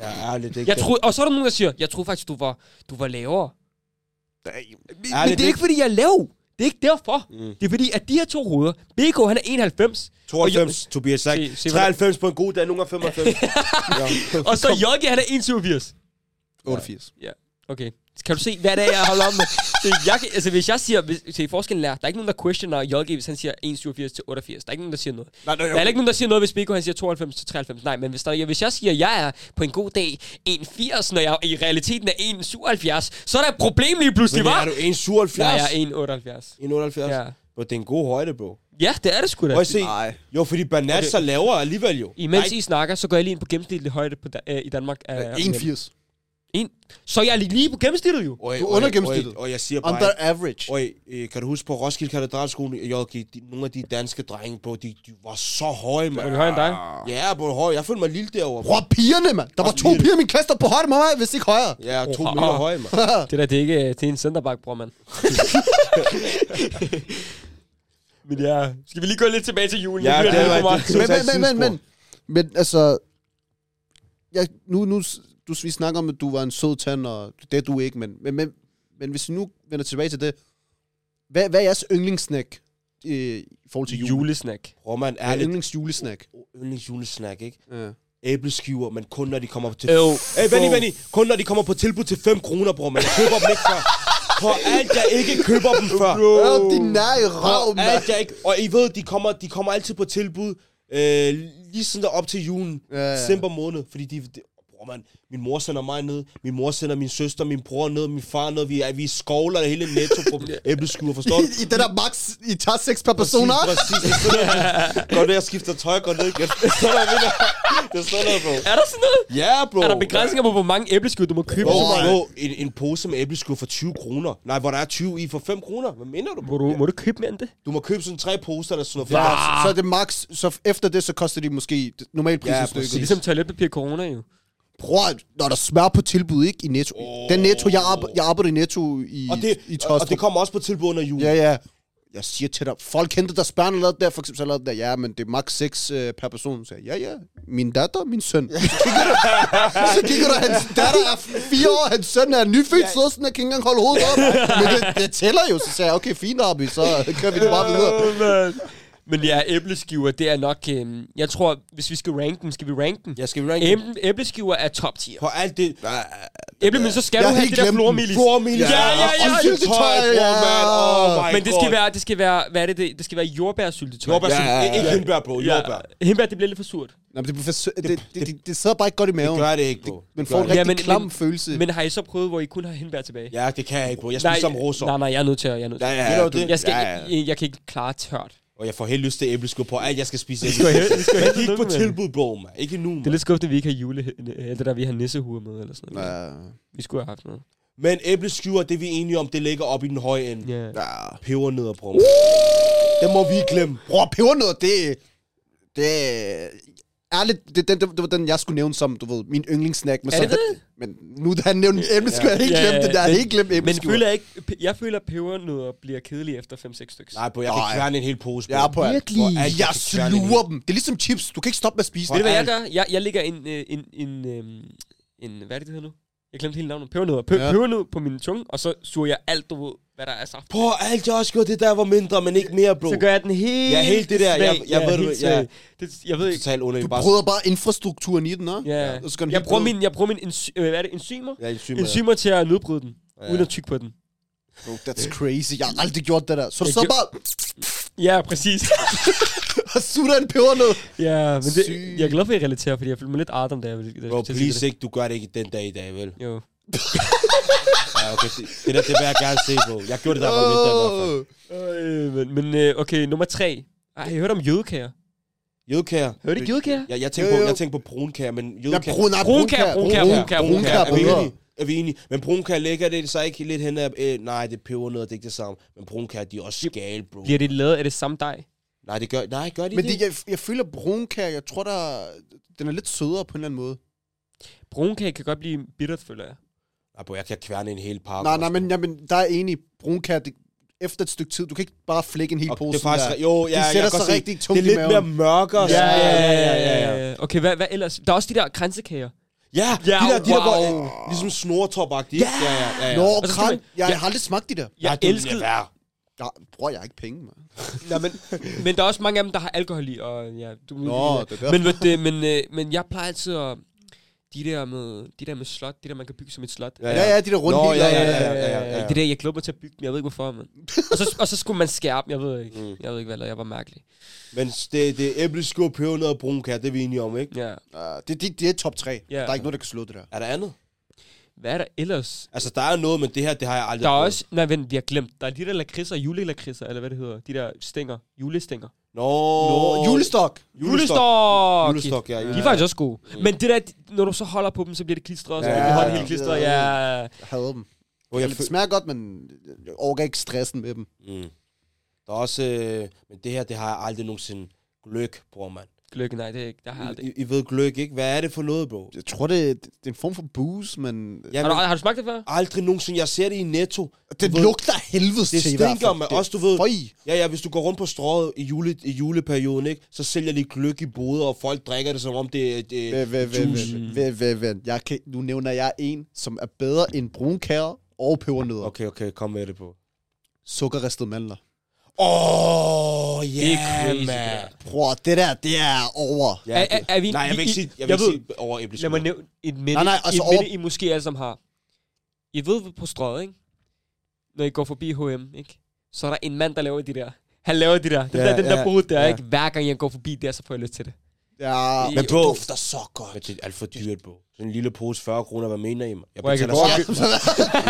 [SPEAKER 5] Ja, ærligt, det er ikke
[SPEAKER 3] Jeg troede, og så er der nogen, der siger, jeg troede faktisk, du var, du var lavere. Men, men det
[SPEAKER 5] det-
[SPEAKER 3] er ikke, fordi jeg er lav. Det er ikke derfor.
[SPEAKER 5] Mm.
[SPEAKER 3] Mm. Det er fordi, at de her to hoveder, BK, han er 91, og, jo,
[SPEAKER 5] 92, Tobias sagt.
[SPEAKER 3] Se- se, hvordan-
[SPEAKER 5] 93 på en god dag, nogle gange 95. ja.
[SPEAKER 3] og så Jokke, han er 1,87.
[SPEAKER 4] 88.
[SPEAKER 3] Okay. Kan du se, hvad det er, jeg holder om med? Se, jeg, kan- altså, hvis jeg siger, hvis, se, forskellen er, der er ikke nogen, der questioner Jolke, hvis han siger 1,87 til 88. Der er ikke nogen, der siger noget.
[SPEAKER 4] Nej, nej,
[SPEAKER 3] Der er heller ikke nogen, der siger noget, hvis Beko han siger 92 til 93. Nej, men hvis, der, hvis jeg siger, at jeg er på en god dag 1,80, når jeg i realiteten er 1,77, så er der et problem lige pludselig,
[SPEAKER 5] Men er
[SPEAKER 3] var?
[SPEAKER 5] du
[SPEAKER 3] Nej,
[SPEAKER 5] 1,77?
[SPEAKER 3] jeg er 1,78.
[SPEAKER 5] 1,78?
[SPEAKER 3] Ja.
[SPEAKER 5] Ja. Bro, det er en god højde, bro.
[SPEAKER 3] Ja, det er det sgu da.
[SPEAKER 5] Prøv at se.
[SPEAKER 4] Nej.
[SPEAKER 5] Jo, fordi Bernat så laver alligevel jo.
[SPEAKER 3] Imens I snakker, så går jeg lige ind på gennemsnitlig højde på, da- øh, i Danmark. Øh,
[SPEAKER 4] 81.
[SPEAKER 3] En. Så jeg er lige- lige på gennemsnittet jo.
[SPEAKER 5] Oi,
[SPEAKER 4] Du er under gennemsnittet.
[SPEAKER 5] Og jeg siger bare...
[SPEAKER 4] Under average.
[SPEAKER 5] Oi, øh, kan du huske på Roskilde Katedralskolen, JG, de, nogle af de danske drenge, bro, de, de var så høje, mand.
[SPEAKER 3] Var det højere end dig?
[SPEAKER 5] Ja, bro, høje. Jeg følte mig lille derovre.
[SPEAKER 4] Prøv pigerne, mand. Der var to
[SPEAKER 5] Også
[SPEAKER 4] piger i min klasse, der på højde med mig, hvis ikke højere.
[SPEAKER 5] Ja, to
[SPEAKER 3] Oha.
[SPEAKER 5] meter høje, mand.
[SPEAKER 3] Det der, det er ikke øh, det er en centerback, bror, mand. men ja, skal vi lige gå lidt tilbage til julen?
[SPEAKER 5] Ja,
[SPEAKER 3] Jeg bliver
[SPEAKER 5] det er
[SPEAKER 3] lidt for
[SPEAKER 5] rigtigt.
[SPEAKER 3] meget.
[SPEAKER 4] Men, men, men, men,
[SPEAKER 5] tidsspor.
[SPEAKER 4] men, men altså... Ja, nu, nu, du, vi snakker om, at du var en sød tand, og det er du ikke, men, men, men, men hvis vi nu vender tilbage til det, hvad, hvad er jeres yndlingssnack øh, i forhold til
[SPEAKER 3] Til
[SPEAKER 4] jul?
[SPEAKER 3] julesnak.
[SPEAKER 5] Bror, man,
[SPEAKER 4] Hvad er
[SPEAKER 5] ærligt.
[SPEAKER 4] yndlingsjulesnack?
[SPEAKER 5] Yndlingsjulesnack, ikke?
[SPEAKER 4] Ja.
[SPEAKER 5] Æbleskiver, men kun når de kommer til...
[SPEAKER 3] Øv.
[SPEAKER 5] Hey, Benny, Benny, kun når de kommer på tilbud til 5 kroner, bror, man. Jeg køber dem ikke før. For alt, jeg ikke køber dem før.
[SPEAKER 4] Oh, din nej røv,
[SPEAKER 5] Og
[SPEAKER 4] mand.
[SPEAKER 5] alt, jeg ikke, og I ved, de kommer, de kommer altid på tilbud, øh, lige sådan der op til julen,
[SPEAKER 4] Ja,
[SPEAKER 5] ja,
[SPEAKER 4] ja.
[SPEAKER 5] ja. december måned, fordi de, de bror, Og man, min mor sender mig ned, min mor sender min søster, min bror ned, min far ned, vi, er- vi skovler det hele netto på æbleskuer, forstår du?
[SPEAKER 4] I, I den der max, I tager seks per person, ah?
[SPEAKER 5] Præcis, præcis. Det er sådan noget, man- Går ned og skifter tøj, går ned igen. Det er sådan noget, det der- det er sådan noget, bro.
[SPEAKER 3] Er der sådan noget?
[SPEAKER 5] Ja, bro.
[SPEAKER 3] Er der begrænsninger på, hvor mange æbleskud du må købe?
[SPEAKER 5] Bro,
[SPEAKER 3] Oh.
[SPEAKER 5] bro, en, en pose med æbleskud for 20 kroner. Nej, hvor der er 20 i for 5 kroner. Hvad mener du,
[SPEAKER 3] Må,
[SPEAKER 5] bro?
[SPEAKER 3] du, må du købe mere end det?
[SPEAKER 5] Du må købe sådan tre poser eller sådan noget.
[SPEAKER 4] Ja,
[SPEAKER 5] Ja.
[SPEAKER 4] så- så er det max, så efter det, så koster de måske normalt pris
[SPEAKER 5] Ja,
[SPEAKER 4] ja,
[SPEAKER 3] Det er
[SPEAKER 4] stykket.
[SPEAKER 5] præcis.
[SPEAKER 3] ligesom toiletpapir og corona, jo.
[SPEAKER 4] Bror, når der smør på tilbud, ikke? I Netto. Oh. Den Netto, jeg, arbe, jeg arbejder i Netto i,
[SPEAKER 5] Og det,
[SPEAKER 4] i
[SPEAKER 5] og, og
[SPEAKER 4] Tostrup.
[SPEAKER 5] det kommer også på tilbud under jul.
[SPEAKER 4] Ja, ja. Jeg siger til dig, folk kendte deres børn lavede der, for eksempel så lavede der, ja, men det er maks 6 øh, per person. Så jeg, ja, ja, min datter, min søn. Så kigger du, så kigger du hans datter er 4 år, hans søn er nyfødt, så sådan, jeg kan ikke engang holde hovedet op. Men det, det tæller jo, så sagde jeg, okay, fint, Arby, så kører vi det bare videre.
[SPEAKER 3] Men ja, æbleskiver, det er nok... Øhm, jeg tror, hvis vi skal ranke dem, skal vi ranke dem?
[SPEAKER 5] Jeg skal vi ranke
[SPEAKER 3] Æble, æbleskiver er top tier.
[SPEAKER 5] på alt det.
[SPEAKER 3] Æble, men så skal
[SPEAKER 4] Jeg
[SPEAKER 3] du
[SPEAKER 4] har
[SPEAKER 3] have
[SPEAKER 4] helt
[SPEAKER 3] det der
[SPEAKER 4] glemt dem.
[SPEAKER 3] flormelis.
[SPEAKER 5] Flormelis.
[SPEAKER 3] Ja, ja, ja.
[SPEAKER 5] Og syltetøj,
[SPEAKER 4] Syltetøj,
[SPEAKER 5] bro,
[SPEAKER 4] ja.
[SPEAKER 5] man. Oh my
[SPEAKER 3] Men det skal,
[SPEAKER 5] God.
[SPEAKER 3] være, det skal være, hvad er det, det, det skal være jordbærsyltetøj.
[SPEAKER 5] Jordbær,
[SPEAKER 4] Ja,
[SPEAKER 5] ja,
[SPEAKER 4] ja, ja.
[SPEAKER 5] Ikke hindbær, bro. Jordbær.
[SPEAKER 3] Ja, hindbær, det bliver lidt for surt.
[SPEAKER 4] Nå, men det, bliver for sø- det, det, det, det, sidder bare ikke godt i maven.
[SPEAKER 5] Gør det ikke, bro.
[SPEAKER 4] Men
[SPEAKER 5] Det
[SPEAKER 4] får
[SPEAKER 5] gør
[SPEAKER 4] en
[SPEAKER 5] det
[SPEAKER 4] rigtig
[SPEAKER 5] ikke.
[SPEAKER 3] Ja, men-
[SPEAKER 4] klam
[SPEAKER 3] men-
[SPEAKER 4] følelse.
[SPEAKER 3] Men har I så prøvet, hvor I kun har hindbær tilbage?
[SPEAKER 5] Ja, det kan jeg ikke, bro. Jeg spiser som roser.
[SPEAKER 3] nej, nej, jeg er nødt til at... Jeg, er nødt til.
[SPEAKER 5] Ja, ja,
[SPEAKER 4] Ved du
[SPEAKER 5] du-
[SPEAKER 4] det?
[SPEAKER 3] jeg, skal,
[SPEAKER 5] ja, ja.
[SPEAKER 3] Jeg, jeg, kan ikke klare tørt.
[SPEAKER 5] Og jeg får helt lyst til æbleskud på alt, jeg skal spise.
[SPEAKER 3] skal jeg- det skal jeg
[SPEAKER 5] Men
[SPEAKER 3] helt
[SPEAKER 5] ikke på
[SPEAKER 3] lykke med.
[SPEAKER 5] tilbud, bro, man. Ikke nu,
[SPEAKER 3] Det er
[SPEAKER 5] man.
[SPEAKER 3] lidt skuffet, at vi ikke har jule... Eller det der, vi har nissehuer med, eller sådan noget.
[SPEAKER 4] Ja,
[SPEAKER 3] Vi skulle have haft noget.
[SPEAKER 5] Men æbleskiver, det er vi er enige om, det ligger op i den høje ende.
[SPEAKER 3] Ja.
[SPEAKER 4] ja.
[SPEAKER 5] Pebernødder, bro. Det må vi ikke glemme.
[SPEAKER 4] Bror, pebernødder, det... Det... Ærligt, det, det, det, det var den, jeg skulle nævne som, du ved, min yndlingssnack. Men,
[SPEAKER 3] Er
[SPEAKER 4] så,
[SPEAKER 3] det det?
[SPEAKER 4] men nu da han nævnte æbleskiver, jeg har helt
[SPEAKER 3] Ja, ja,
[SPEAKER 4] glemt det. Jeg har
[SPEAKER 3] men-
[SPEAKER 4] helt glemt
[SPEAKER 3] Men
[SPEAKER 4] æbleskiver.
[SPEAKER 3] føler jeg ikke... Jeg føler, at pebernødder bliver kedelige efter 5-6 stykker.
[SPEAKER 5] Nej, bro, jeg kan
[SPEAKER 4] Nej.
[SPEAKER 5] kværne en hel pose, bro.
[SPEAKER 4] Jeg er på alt.
[SPEAKER 3] Virkelig?
[SPEAKER 4] Hvor alt, Jeg
[SPEAKER 5] kan kværne en hel-
[SPEAKER 4] sluger dem. Det er ligesom chips. Du kan ikke stoppe med at spise
[SPEAKER 5] Hvor
[SPEAKER 3] Ved
[SPEAKER 4] det.
[SPEAKER 3] du, hvad jeg
[SPEAKER 5] alt.
[SPEAKER 3] gør? Jeg, jeg lægger en, øh, en, en, en, en... Hvad er det, det hedder nu? Jeg glemte hele navnet. Pebernødder. Pe-
[SPEAKER 4] Ja.
[SPEAKER 3] Pebernød på min tunge, og så suger jeg alt, du ved, hvad der er saft.
[SPEAKER 5] Bro, alt jeg også gjorde, det der var mindre, men ikke mere, bro.
[SPEAKER 3] Så gør jeg den helt
[SPEAKER 5] Ja, helt det der. Jeg-
[SPEAKER 3] svag.
[SPEAKER 5] jeg
[SPEAKER 3] Ja,
[SPEAKER 5] ved det,
[SPEAKER 3] helt
[SPEAKER 5] ja.
[SPEAKER 3] svag. Det, jeg ved ikke.
[SPEAKER 5] Totalt under
[SPEAKER 4] Du
[SPEAKER 5] bare...
[SPEAKER 4] prøver bare infrastrukturen i den, hva'?
[SPEAKER 3] Ja.
[SPEAKER 4] Og så går den
[SPEAKER 3] Jeg
[SPEAKER 4] helt
[SPEAKER 3] bruger
[SPEAKER 4] ned.
[SPEAKER 3] min, jeg bruger min ensy, øh, hvad er det, enzymer?
[SPEAKER 5] Ja, enzymer.
[SPEAKER 3] Enzymer til at nedbryde den,
[SPEAKER 5] Ja.
[SPEAKER 3] uden at tykke på den.
[SPEAKER 4] Bro, that's crazy. Jeg har aldrig gjort det der. Så du
[SPEAKER 3] Jeg
[SPEAKER 4] så
[SPEAKER 3] gjorde-
[SPEAKER 4] bare
[SPEAKER 3] Ja, præcis.
[SPEAKER 4] og sutter en pebernød.
[SPEAKER 3] ja, men det,
[SPEAKER 4] Sygt.
[SPEAKER 3] jeg er glad for, at I relaterer, fordi jeg følte mig lidt Adam, da jeg ville da jeg
[SPEAKER 5] Bro,
[SPEAKER 3] skulle til at sige
[SPEAKER 5] please ikke, du gør det ikke den dag i dag, vel?
[SPEAKER 3] det. Jo.
[SPEAKER 5] Ja, okay, det, det der, det vil jeg gerne se, bro. Jeg gjorde det der var mindre, i hvert fald.
[SPEAKER 4] Åh.
[SPEAKER 3] Øh, men, men øh, okay, nummer tre. Ej, jeg hørte om jødekager.
[SPEAKER 5] Jødekager.
[SPEAKER 3] Hørte I jødekager?
[SPEAKER 5] Jeg, jeg tænkte
[SPEAKER 4] Jo,
[SPEAKER 5] på,
[SPEAKER 4] jo.
[SPEAKER 5] jeg tænkte på brunkager, men
[SPEAKER 4] Ja,
[SPEAKER 5] jødekager...
[SPEAKER 4] brun, nej,
[SPEAKER 3] Brunkager, brunkager, brunkager,
[SPEAKER 4] brunkager.
[SPEAKER 5] er,
[SPEAKER 4] er
[SPEAKER 5] vi
[SPEAKER 4] bedre.
[SPEAKER 5] enige? Er vi enige? Men brunkager ligger det så ikke lidt hen af... Øh, nej, det er pebernødder, det er ikke det samme. Men brunkager, de er også skale, bro.
[SPEAKER 3] Bliver det lavet af det samme dej?
[SPEAKER 5] Nej, det gør, nej, gør de
[SPEAKER 4] Men
[SPEAKER 5] det?
[SPEAKER 4] det, jeg, jeg føler brunkager, jeg tror, der, den er lidt sødere på en eller anden måde.
[SPEAKER 3] Brunkage kan godt blive bittert, føler jeg.
[SPEAKER 5] Nej, Ah, bro, jeg kan kværne en hel pakke.
[SPEAKER 4] Nej, nej, men, ja, men der er enig. Brunkager, det, efter et stykke tid, du kan ikke bare flække en hel
[SPEAKER 5] Og
[SPEAKER 4] pose.
[SPEAKER 5] det er faktisk,
[SPEAKER 4] der.
[SPEAKER 5] jo, ja,
[SPEAKER 4] De
[SPEAKER 5] jeg
[SPEAKER 4] sætter
[SPEAKER 5] kan
[SPEAKER 4] sig
[SPEAKER 5] se,
[SPEAKER 4] rigtig
[SPEAKER 5] det
[SPEAKER 4] tungt
[SPEAKER 5] er
[SPEAKER 4] i
[SPEAKER 5] lidt
[SPEAKER 4] maven.
[SPEAKER 5] mere mørkere.
[SPEAKER 4] Ja,
[SPEAKER 5] sådan.
[SPEAKER 3] ja. Øh, Okay, hvad, hvad ellers? Der er også de der kransekager.
[SPEAKER 5] Ja,
[SPEAKER 3] Ja,
[SPEAKER 5] de der, de der
[SPEAKER 3] wow.
[SPEAKER 5] går, øh, ligesom snortopagtige. Ja, ja, ja. ja, ja.
[SPEAKER 4] Nå,
[SPEAKER 3] Og så skal
[SPEAKER 4] kran,
[SPEAKER 3] man-
[SPEAKER 4] jeg
[SPEAKER 3] Ja.
[SPEAKER 4] har aldrig smagt de der.
[SPEAKER 3] Jeg
[SPEAKER 5] det er
[SPEAKER 3] elskede...
[SPEAKER 5] værre.
[SPEAKER 4] Ja, bror, jeg har ikke penge, man.
[SPEAKER 3] Nå, men, men der er også mange af dem, der har alkohol i, og ja, du
[SPEAKER 4] Nå, det er derfor.
[SPEAKER 3] men, ved det, men, øh, men jeg plejer altid at... De der, med, de der med slot, de der, man kan bygge som et slot.
[SPEAKER 5] Ja,
[SPEAKER 4] Ja, ja, de der runde
[SPEAKER 5] Nå,
[SPEAKER 4] hele-
[SPEAKER 5] ja, ja, ja, ja, ja, ja, ja.
[SPEAKER 3] Det der, jeg glæder mig til at bygge dem, jeg ved ikke hvorfor, men. og, så, og så skulle man skærpe, jeg ved ikke. Mm. Jeg ved ikke, hvad jeg lavede, jeg var mærkelig.
[SPEAKER 5] Men det, det er æbleskur, pebernød og brun kær, det er vi enige om, ikke?
[SPEAKER 3] Ja.
[SPEAKER 4] Uh, det, det, det er top 3.
[SPEAKER 3] Ja.
[SPEAKER 4] Der er ikke noget, der kan slå det der.
[SPEAKER 5] Er der andet?
[SPEAKER 3] Hvad er der ellers?
[SPEAKER 5] Altså, der er noget, men det her, det har jeg aldrig
[SPEAKER 3] Der er
[SPEAKER 5] prøvet.
[SPEAKER 3] også... Nej, vent, jeg har glemt. Der er de der lakridser, julelakridser, eller hvad det hedder. De der stænger. Julestænger.
[SPEAKER 5] Nå,
[SPEAKER 4] Nå, julestok.
[SPEAKER 3] Julestok!
[SPEAKER 5] Julestok, ja, ja.
[SPEAKER 3] De er faktisk også gode. Men det der, når du så holder på dem, så bliver det klistret, og så
[SPEAKER 5] Ja,
[SPEAKER 3] bliver det hånden
[SPEAKER 5] ja.
[SPEAKER 3] helt klistret. Ja.
[SPEAKER 4] Jeg hader dem.
[SPEAKER 5] Hvor jeg
[SPEAKER 4] Eller, Det
[SPEAKER 5] fø-
[SPEAKER 4] smager godt, men jeg overgår ikke stressen med dem.
[SPEAKER 5] mm. Der er også... Øh, men det her, det har jeg aldrig nogensinde gløk, bror, mand.
[SPEAKER 3] Gløgg, nej, det er ikke. Der har jeg aldrig.
[SPEAKER 5] I, I ved gløk, ikke? Hvad er det for noget, bro?
[SPEAKER 4] Jeg tror, det, det er en form for booze, men... Ja.
[SPEAKER 3] Har
[SPEAKER 5] Jamen,
[SPEAKER 3] du, har du smagt det før?
[SPEAKER 5] aldrig nogensinde... Jeg ser det i Netto.
[SPEAKER 4] Den
[SPEAKER 5] Du ved-
[SPEAKER 4] lugter af helvedes
[SPEAKER 5] Det
[SPEAKER 4] til i hvert
[SPEAKER 5] stinker,
[SPEAKER 4] fald.
[SPEAKER 5] men
[SPEAKER 4] Det-
[SPEAKER 5] også, du ved-
[SPEAKER 4] Føj.
[SPEAKER 5] Ja, ja, hvis du går rundt på strået i, jule, i juleperioden, ikke? Så sælger de gløk i boder, og folk drikker det, som om det er... Det,
[SPEAKER 4] Væ- væ- væ- væ- væ- væ- væ- Jeg kan, nu nævner jeg en, som er bedre end brunkager og pebernødder. Okay.
[SPEAKER 5] Okay, okay, kom med det på.
[SPEAKER 4] Sukkerristede mandler.
[SPEAKER 5] Åh, oh,
[SPEAKER 3] Det
[SPEAKER 5] yeah,
[SPEAKER 3] er crazy, det der.
[SPEAKER 4] Bror, det der, det er over.
[SPEAKER 5] Ja,
[SPEAKER 3] Er- er- er vi-
[SPEAKER 5] Nej, jeg vil ikke
[SPEAKER 3] I-
[SPEAKER 5] sige,
[SPEAKER 3] jeg
[SPEAKER 5] jeg vil ikke
[SPEAKER 3] ved-
[SPEAKER 5] sige over æbleskud.
[SPEAKER 3] Lad mig nævne et minde,
[SPEAKER 4] Nej, nej, altså
[SPEAKER 3] et minde
[SPEAKER 4] over-
[SPEAKER 3] I måske alle sammen har. I ved på strøget, ikke? Når I går forbi H&M, ikke? Så er der en mand, der laver de der. Han laver de der. Den
[SPEAKER 5] Ja,
[SPEAKER 3] der, den
[SPEAKER 5] ja,
[SPEAKER 3] der brud der,
[SPEAKER 5] ja.
[SPEAKER 3] ikke? Hver gang jeg går forbi der, så får jeg lyst til det.
[SPEAKER 4] Ja,
[SPEAKER 5] Men bro,
[SPEAKER 4] dufter så godt.
[SPEAKER 5] men det er alt for dyrt, bro. Sådan en lille pose 40 kroner, hvad mener I, man? Jeg
[SPEAKER 3] Bro, jeg kan
[SPEAKER 5] betaler
[SPEAKER 3] godt
[SPEAKER 5] selv.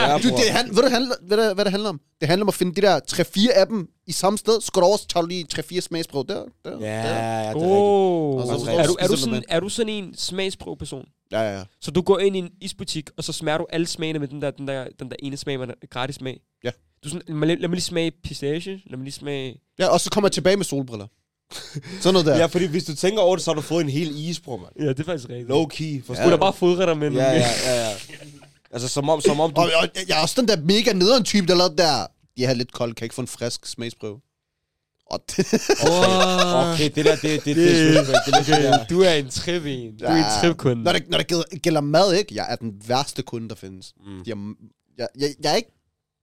[SPEAKER 5] Ja,
[SPEAKER 4] Du,
[SPEAKER 5] bror.
[SPEAKER 4] det, han, ved du, handler, ved du, hvad det handler om? Det handler om at finde de der 3-4 af dem i samme sted. Så går du over, så tager du lige 3-4 smagsprøve der. der
[SPEAKER 5] Ja,
[SPEAKER 4] Der.
[SPEAKER 5] ja, det er rigtigt.
[SPEAKER 3] Oh.
[SPEAKER 4] Og så-
[SPEAKER 3] Er, du, er, du
[SPEAKER 4] så-
[SPEAKER 3] sådan, er du sådan en smagsprøveperson?
[SPEAKER 4] Ja, ja, ja.
[SPEAKER 3] Så du går ind i en isbutik, og så smager du alle smagene med den der, den der, den der ene smag, man er gratis smag?
[SPEAKER 4] Ja.
[SPEAKER 3] Du er sådan, lad, lad mig lige smage pistache, lad mig lige smage...
[SPEAKER 4] Ja, og så kommer jeg tilbage med solbriller. Sådan noget der.
[SPEAKER 5] Ja, fordi hvis du tænker over det, så har du fået en hel is, bror, mand.
[SPEAKER 3] Ja, det er faktisk rigtigt.
[SPEAKER 5] Low key,
[SPEAKER 3] Du
[SPEAKER 5] forstår
[SPEAKER 3] er da
[SPEAKER 5] du?
[SPEAKER 3] bare fodre dig med
[SPEAKER 5] Ja, ja, ja, ja. Altså, som om, som om du...
[SPEAKER 4] Og, og jeg er også den der mega nederen type, der lavede der. Jeg har lidt kold, kan ikke få en frisk smagsprøve. Og det,
[SPEAKER 5] Okay, det der, det, det, det, det, det, det, det, det, det,
[SPEAKER 3] Du er en trip en. Du er en tripkunde.
[SPEAKER 4] Når det, når det gælder, gælder mad, ikke? Jeg er den værste kunde, der findes.
[SPEAKER 5] Mm.
[SPEAKER 4] Mm. Jeg, jeg, jeg, jeg er ikke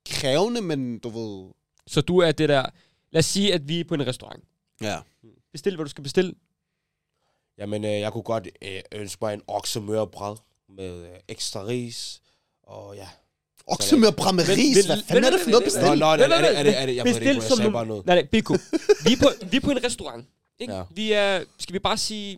[SPEAKER 4] krævende, men du ved...
[SPEAKER 3] Så du er det der... Lad os sige, at vi er på en restaurant.
[SPEAKER 4] Ja.
[SPEAKER 3] Bestil, hvad du skal bestille.
[SPEAKER 5] Jamen, øh, jeg kunne godt øh, ønske mig en oksemørbræd med øh, ekstra ris. Og ja.
[SPEAKER 4] Okse med brammeris, hvad fanden er det for noget
[SPEAKER 5] vent,
[SPEAKER 4] bestemt?
[SPEAKER 5] Nå, nå,
[SPEAKER 3] Nej, nej,
[SPEAKER 5] er det-
[SPEAKER 3] nej.
[SPEAKER 5] er det- er det- jeg ved det
[SPEAKER 3] Bestil
[SPEAKER 5] ikke, hvor jeg
[SPEAKER 3] som
[SPEAKER 5] sagde
[SPEAKER 3] du-
[SPEAKER 5] bare noget.
[SPEAKER 3] Nej, nej, BK. Vi er på, vi er på en restaurant. Ikke?
[SPEAKER 5] Ja.
[SPEAKER 3] Vi er, skal vi bare sige,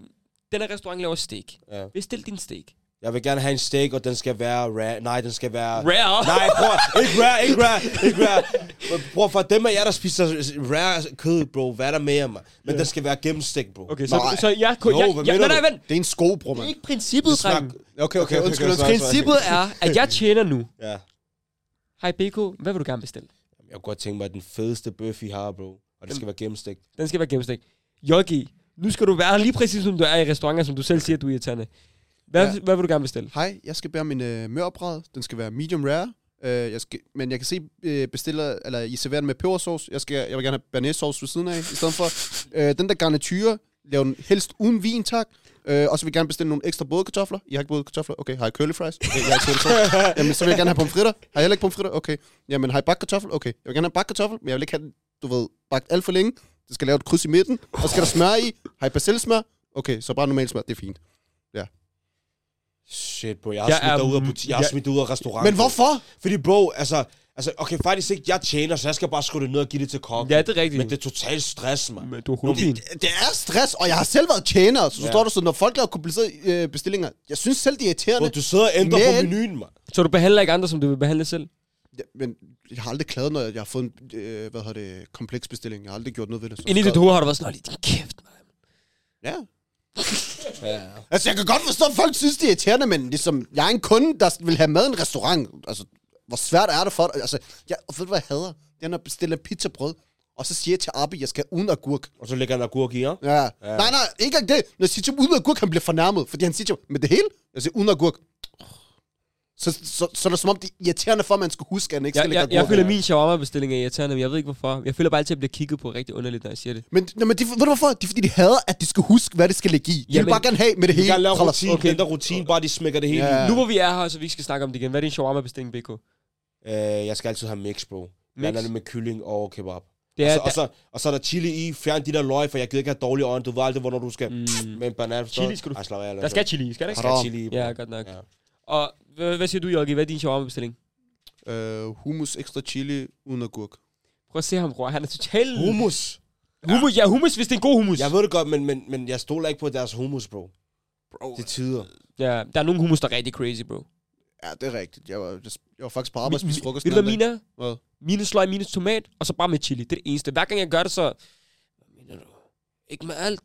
[SPEAKER 3] den her restaurant laver steak.
[SPEAKER 5] Ja.
[SPEAKER 3] Bestil din steak.
[SPEAKER 5] Jeg vil gerne have en steak, og den skal være rare. Nej, den skal være...
[SPEAKER 3] Rare?
[SPEAKER 5] Nej, bror, ikke rare, ikke rare, ikke rare. Bror, for dem af jer, der spiser rare kød, bro, hvad er der med jer, mand? Men den skal være gennemstegt, bro.
[SPEAKER 3] Okay, så,
[SPEAKER 4] Nej.
[SPEAKER 3] så jeg... kunne...
[SPEAKER 5] Jo,
[SPEAKER 3] jeg,
[SPEAKER 5] hvad
[SPEAKER 3] jeg,
[SPEAKER 5] mener
[SPEAKER 3] nej, nej,
[SPEAKER 5] du?
[SPEAKER 3] vent.
[SPEAKER 4] Det er en sko, bror,
[SPEAKER 3] Det er
[SPEAKER 4] mand.
[SPEAKER 3] ikke princippet,
[SPEAKER 5] snak-
[SPEAKER 3] dreng.
[SPEAKER 5] Okay, okay,
[SPEAKER 4] undskyld,
[SPEAKER 5] sorry, sorry,
[SPEAKER 3] Princippet er, at jeg tjener nu.
[SPEAKER 5] sorry. Ja.
[SPEAKER 3] Hej BK, hvad vil du gerne bestille?
[SPEAKER 5] Jeg kunne godt tænke mig, at den fedeste bøf, I har, bro. Og det skal være gennemstegt.
[SPEAKER 3] Den skal være gennemstik. Jogi, nu skal du være lige præcis, som du er i restauranter, som du selv siger, du er irriterende. Hvad, ja.
[SPEAKER 4] Ja.
[SPEAKER 3] hvad vil du gerne bestille?
[SPEAKER 4] Hej, jeg skal bære min øh, mørbræd. Den skal være medium rare. Øh, jeg skal, men jeg kan se, øh, bestiller, eller I serverer den med pebersauce. Jeg, skal, jeg vil gerne have bearnaise sauce ved siden af, i stedet for. Øh, den der garniture, lav den helst uden vin, tak. Øh, og så vil jeg gerne bestille nogle ekstra både kartofler. I har ikke både kartofler? Okay, har I curly fries? Okay, jeg har ikke curly fries. Jamen, så vil jeg gerne have pomfritter. Har I heller ikke pomfritter? Okay. Jamen, har I bagt kartoffel? Okay. Jeg vil gerne have bagt kartoffel, men jeg vil ikke have den, du ved, bagt alt for længe. Det skal lave et kryds i midten. Og så skal der smør i. Har I persillesmør? Okay, så bare normalt smør. Det er fint.
[SPEAKER 5] Shit, bro. Jeg har
[SPEAKER 3] Jeg
[SPEAKER 5] smidt
[SPEAKER 3] er-
[SPEAKER 5] dig ud af buti- Jeg har
[SPEAKER 3] jeg-
[SPEAKER 5] smidt dig ud af restauranten.
[SPEAKER 4] Men hvorfor?
[SPEAKER 5] Fordi bro, altså, altså, okay, faktisk ikke, jeg tjener, så jeg skal bare skrue det ned og give det til kokken.
[SPEAKER 3] Ja, det er rigtigt.
[SPEAKER 5] Men det er totalt stress, mand.
[SPEAKER 3] Men du er hovedpine.
[SPEAKER 4] Det er stress, og jeg har selv været tjener, så
[SPEAKER 5] Ja.
[SPEAKER 4] ja. står der sådan, når folk laver komplicerede øh, bestillinger, jeg synes selv, de er irriterende,
[SPEAKER 5] Bro, du sidder og ændrer på
[SPEAKER 4] Men-
[SPEAKER 5] menuen, mand.
[SPEAKER 3] Så du behandler ikke andre, som du vil behandle selv?
[SPEAKER 4] ja, men jeg har aldrig klaget, når jeg har fået en, øh, hvad hedder det, kompleks bestilling, jeg har aldrig gjort noget ved det. Så
[SPEAKER 3] Ind i dit
[SPEAKER 4] så-
[SPEAKER 3] hoved har du været sådan, "Nå, lige din kæft, man.
[SPEAKER 4] Ja. ja. Altså, jeg kan godt forstå, at folk synes, de er irriterende, men ligesom, jeg er en kunde, der vil have mad i en restaurant, altså, hvor svært er det for dig? Altså, jeg, og ved du, hvad jeg hader? Det er, når jeg bestiller pizzabrød, og så siger jeg til Abi, jeg skal uden agurk.
[SPEAKER 5] Og så lægger han agurk i, ja?
[SPEAKER 4] Ja. ja. Nej, nej, ikke engang det. Når jeg siger til ham, uden agurk, han bliver fornærmet. Fordi han siger til mig, med det hele, jeg siger, uden agurk. Så, så, så er det som om, det er irriterende for, at man skal huske, at han ikke
[SPEAKER 3] Jeg,
[SPEAKER 4] skal
[SPEAKER 3] jeg,
[SPEAKER 4] lægge
[SPEAKER 3] jeg
[SPEAKER 4] agurk.
[SPEAKER 3] føler min shawarma-bestilling er irriterende, men jeg ved ikke hvorfor. Jeg føler bare altid, at jeg bliver kigget på rigtig underligt, når jeg siger det.
[SPEAKER 4] Men, nej, men de, ved du hvorfor? Det er fordi, de hader, at de skal huske, hvad det skal ligge i. De
[SPEAKER 3] Jamen-
[SPEAKER 4] vil bare gerne have med det
[SPEAKER 5] Vi kan
[SPEAKER 4] hele.
[SPEAKER 5] lave
[SPEAKER 4] Tralala.
[SPEAKER 5] rutine, okay. den der rutine, bare de smækker det hele
[SPEAKER 4] Ja.
[SPEAKER 5] ja.
[SPEAKER 3] Nu hvor vi er her, så vi ikke skal snakke om det igen. Hvad er din shawarma-bestilling, BK?
[SPEAKER 5] øh, Jeg skal altid have mix, bro. Blander det med kylling og kebab.
[SPEAKER 3] Det
[SPEAKER 5] Ja,
[SPEAKER 3] er,
[SPEAKER 5] og, så, og, så, og så er der chili i, fjern de der løg, for jeg gider ikke have dårlige øjne. Du ved aldrig, hvornår du skal mm. med en banan. forstår
[SPEAKER 3] Chili skal du-
[SPEAKER 5] Ej, slap af, jeg
[SPEAKER 3] der,
[SPEAKER 5] laver
[SPEAKER 3] der skal
[SPEAKER 5] sjov.
[SPEAKER 3] chili, skal der
[SPEAKER 5] Der
[SPEAKER 3] ikke?
[SPEAKER 5] skal chili i, bro.
[SPEAKER 3] Ja, godt nok.
[SPEAKER 5] Ja.
[SPEAKER 3] Og hvad, hvad siger du, Jogi? Hvad er din shawarma-bestilling?
[SPEAKER 4] Øh, hummus, ekstra chili, uden agurk.
[SPEAKER 3] Prøv at se ham, bror. Han er totalt...
[SPEAKER 5] Hummus.
[SPEAKER 3] Hummus. Ja, hummus, hvis det er en god hummus.
[SPEAKER 5] Jeg ved det godt, men, men, men jeg stoler ikke på deres hummus, bro. bro. Det tider.
[SPEAKER 3] Ja, der er nogle hummus, der er rigtig crazy, bro.
[SPEAKER 4] Ja, det er rigtigt. Jeg var, jeg var faktisk på arbejde og spiste frokost.
[SPEAKER 3] Ved du,
[SPEAKER 4] den
[SPEAKER 3] hvad
[SPEAKER 4] anden
[SPEAKER 3] mine er?
[SPEAKER 4] dag. Hvad?
[SPEAKER 3] Mine sløg, mine tomat, og så bare med chili. Det er det eneste. Hver gang jeg gør det, så... Hvad mener du? Ikke med alt.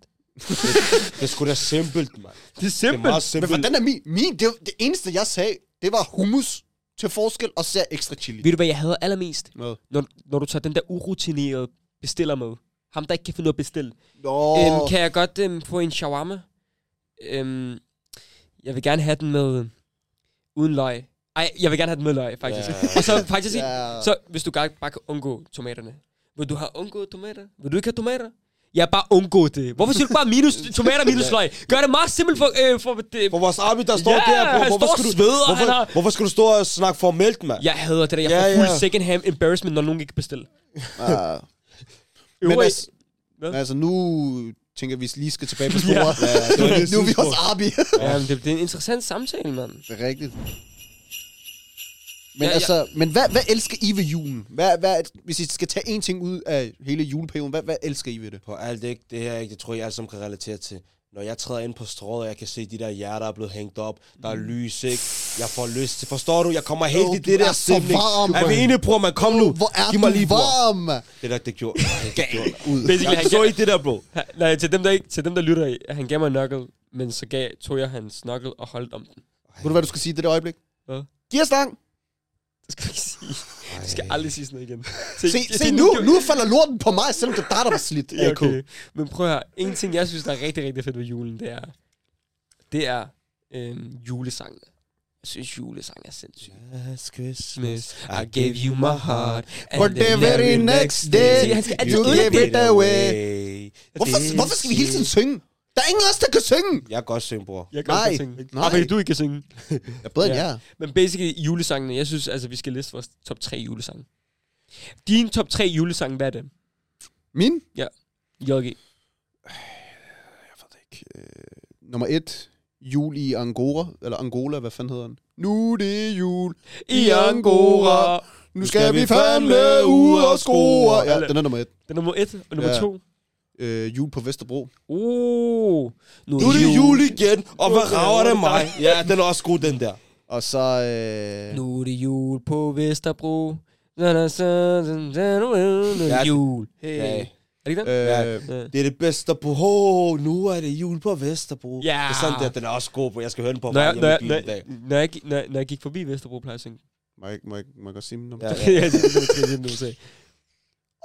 [SPEAKER 5] Det er sgu da simpelt, mand.
[SPEAKER 3] Det er
[SPEAKER 5] Det er
[SPEAKER 3] simpelt. Det
[SPEAKER 5] meget
[SPEAKER 4] Men
[SPEAKER 5] simpelt.
[SPEAKER 4] hvordan er min? Min, det, det eneste, jeg sagde, det var hummus til forskel, og så ekstra chili.
[SPEAKER 3] Ved du, hvad jeg hader allermest?
[SPEAKER 4] Hvad?
[SPEAKER 3] Når, når du tager den der urutinerede bestiller med. Ham, der ikke kan finde ud af at bestille.
[SPEAKER 4] Nå,
[SPEAKER 3] Øhm, kan jeg godt øhm, få en shawarma? Øhm, jeg vil gerne have den med... øhm, Uden løg. Ej, jeg vil gerne have den med løg, faktisk.
[SPEAKER 5] Ja.
[SPEAKER 3] Og så faktisk en,
[SPEAKER 4] ja.
[SPEAKER 3] Så hvis du gar- bare kan undgå tomaterne. Vil du have undgået tomater? Vil du ikke have tomater? Ja, bare undgå det. Hvorfor siger du bare minus tomater minus løg? Gør det meget simpelt for... Øh, for det.
[SPEAKER 5] For vores Abi, der står
[SPEAKER 3] Ja,
[SPEAKER 5] der, bro.
[SPEAKER 3] han står og sveder,
[SPEAKER 5] hvorfor,
[SPEAKER 3] han har-
[SPEAKER 5] hvorfor skal du stå og snakke formelt, mand?
[SPEAKER 3] Jeg hader det der. Jeg
[SPEAKER 5] Ja,
[SPEAKER 3] får fuld
[SPEAKER 5] ja.
[SPEAKER 3] second hand embarrassment, når nogen ikke kan bestille.
[SPEAKER 4] Ja.
[SPEAKER 3] Øvrigt-
[SPEAKER 4] Men altså,
[SPEAKER 3] Hvad?
[SPEAKER 4] altså, nu tænker jeg, at vi lige skal tilbage på
[SPEAKER 3] Ja.
[SPEAKER 4] sporet.
[SPEAKER 5] Ja, det var lidt
[SPEAKER 4] nu er vi
[SPEAKER 5] sidespor.
[SPEAKER 4] også Arbi.
[SPEAKER 3] Ja, men det, det er en interessant samtale, mand.
[SPEAKER 4] det er rigtigt. Men
[SPEAKER 3] Ja, ja.
[SPEAKER 4] altså, men hvad, hvad elsker I ved julen? Hvad, hvad, hvis I skal tage én ting ud af hele juleperioden, hvad, hvad elsker I ved det?
[SPEAKER 5] På alt det, ikke- det her, ikke, det tror jeg, alle sammen kan relatere til. når jeg træder ind på strået, og jeg kan se de der hjerter er blevet hængt op, der er lys, ikke? Jeg får lyst til, forstår du? Jeg kommer helt
[SPEAKER 4] Åh,
[SPEAKER 5] i
[SPEAKER 4] du
[SPEAKER 5] det der
[SPEAKER 4] er så
[SPEAKER 5] stemning.
[SPEAKER 4] varm,
[SPEAKER 5] Er vi
[SPEAKER 4] mand.
[SPEAKER 5] enige, bror, man? Kom nu.
[SPEAKER 4] Hvor er
[SPEAKER 5] Giv
[SPEAKER 4] du
[SPEAKER 5] mig lige, bror.
[SPEAKER 4] varm, mand?
[SPEAKER 5] Det der, det gjorde. Ej, det gjorde.
[SPEAKER 4] Ud.
[SPEAKER 3] Basically,
[SPEAKER 5] Jeg
[SPEAKER 3] han
[SPEAKER 5] så
[SPEAKER 3] gav,
[SPEAKER 5] i det der, bro.
[SPEAKER 3] han, nej, til dem, der ikke, til dem, der lytter, han gav mig en knuckle, men så gav, tog jeg hans knuckle og holdt om den.
[SPEAKER 4] Ved du, hvad du skal sige i det der øjeblik?
[SPEAKER 3] Hvad?
[SPEAKER 4] Giv os lang.
[SPEAKER 3] Det skal jeg ikke sige. Jeg skal aldrig sige sådan noget igen. Se,
[SPEAKER 4] Se, se nu, nu falder lorten på mig, selvom det er dig, der var slidt.
[SPEAKER 3] Ja,
[SPEAKER 4] AK.
[SPEAKER 3] okay. Men prøv at høre, en ting, jeg synes, der er rigtig, rigtig fedt ved julen, det er, det er øhm, julesangene. Jeg synes, julesang er sindssygt.
[SPEAKER 5] Last Christmas,
[SPEAKER 3] Christmas, I gave you my heart. and
[SPEAKER 4] But the very next day,
[SPEAKER 3] See, han skal altid
[SPEAKER 4] you
[SPEAKER 3] ødelægge
[SPEAKER 4] gave
[SPEAKER 3] det.
[SPEAKER 4] it away. Hvorfor, hvorfor skal vi hele tiden synge? Der er ingen af os, der kan synge.
[SPEAKER 5] Jeg kan godt synge, bror.
[SPEAKER 3] Jeg kan
[SPEAKER 4] Nej,
[SPEAKER 3] godt synge.
[SPEAKER 4] nej.
[SPEAKER 3] Ah, fordi du ikke kan synge.
[SPEAKER 4] Jeg er bedre end
[SPEAKER 3] Ja.
[SPEAKER 4] jer.
[SPEAKER 3] Men basically, julesangene, jeg synes, altså, vi skal liste vores top 3 julesange. Din top 3 julesange, hvad er det?
[SPEAKER 4] Min
[SPEAKER 3] Jogi.
[SPEAKER 4] øh, nummer et, jul i Angora, eller Angola, hvad fanden hedder den? Nu er det jul, I Angora. nu skal vi fandme ud og score. Ja, den er nummer et.
[SPEAKER 3] Det er nummer 1 og nummer
[SPEAKER 4] Ja.
[SPEAKER 3] 2.
[SPEAKER 4] Øh, jul på Vesterbro.
[SPEAKER 3] Uh,
[SPEAKER 5] Nu er det jul igen, og hvad rager det mig? Ja, den er også god, den der.
[SPEAKER 4] Og så... Øh,
[SPEAKER 3] Nu er det jul på Vesterbro. Da, da, så, da, da, nu er
[SPEAKER 5] Ja.
[SPEAKER 3] det jul.
[SPEAKER 5] Ja.
[SPEAKER 3] Er det ikke den?
[SPEAKER 4] øh,
[SPEAKER 3] Ja.
[SPEAKER 5] Det er det bedste på. Oh, nu er det jul på Vesterbro.
[SPEAKER 3] Ja.
[SPEAKER 5] Det er sådan der, den er også god, bro. Jeg skal høre den på
[SPEAKER 3] Når jeg,
[SPEAKER 5] vej
[SPEAKER 3] når,
[SPEAKER 5] hjemme i
[SPEAKER 3] jeg,
[SPEAKER 5] bilen
[SPEAKER 3] når, jeg,
[SPEAKER 5] i dag.
[SPEAKER 3] når, jeg, gik- når, jeg, når jeg gik forbi Vesterbro, plejer jeg at synge.
[SPEAKER 4] må, jeg, må, jeg, må jeg godt sige min nummer?
[SPEAKER 5] Ja, ja.
[SPEAKER 3] Ja, det er det, jeg nu sagde.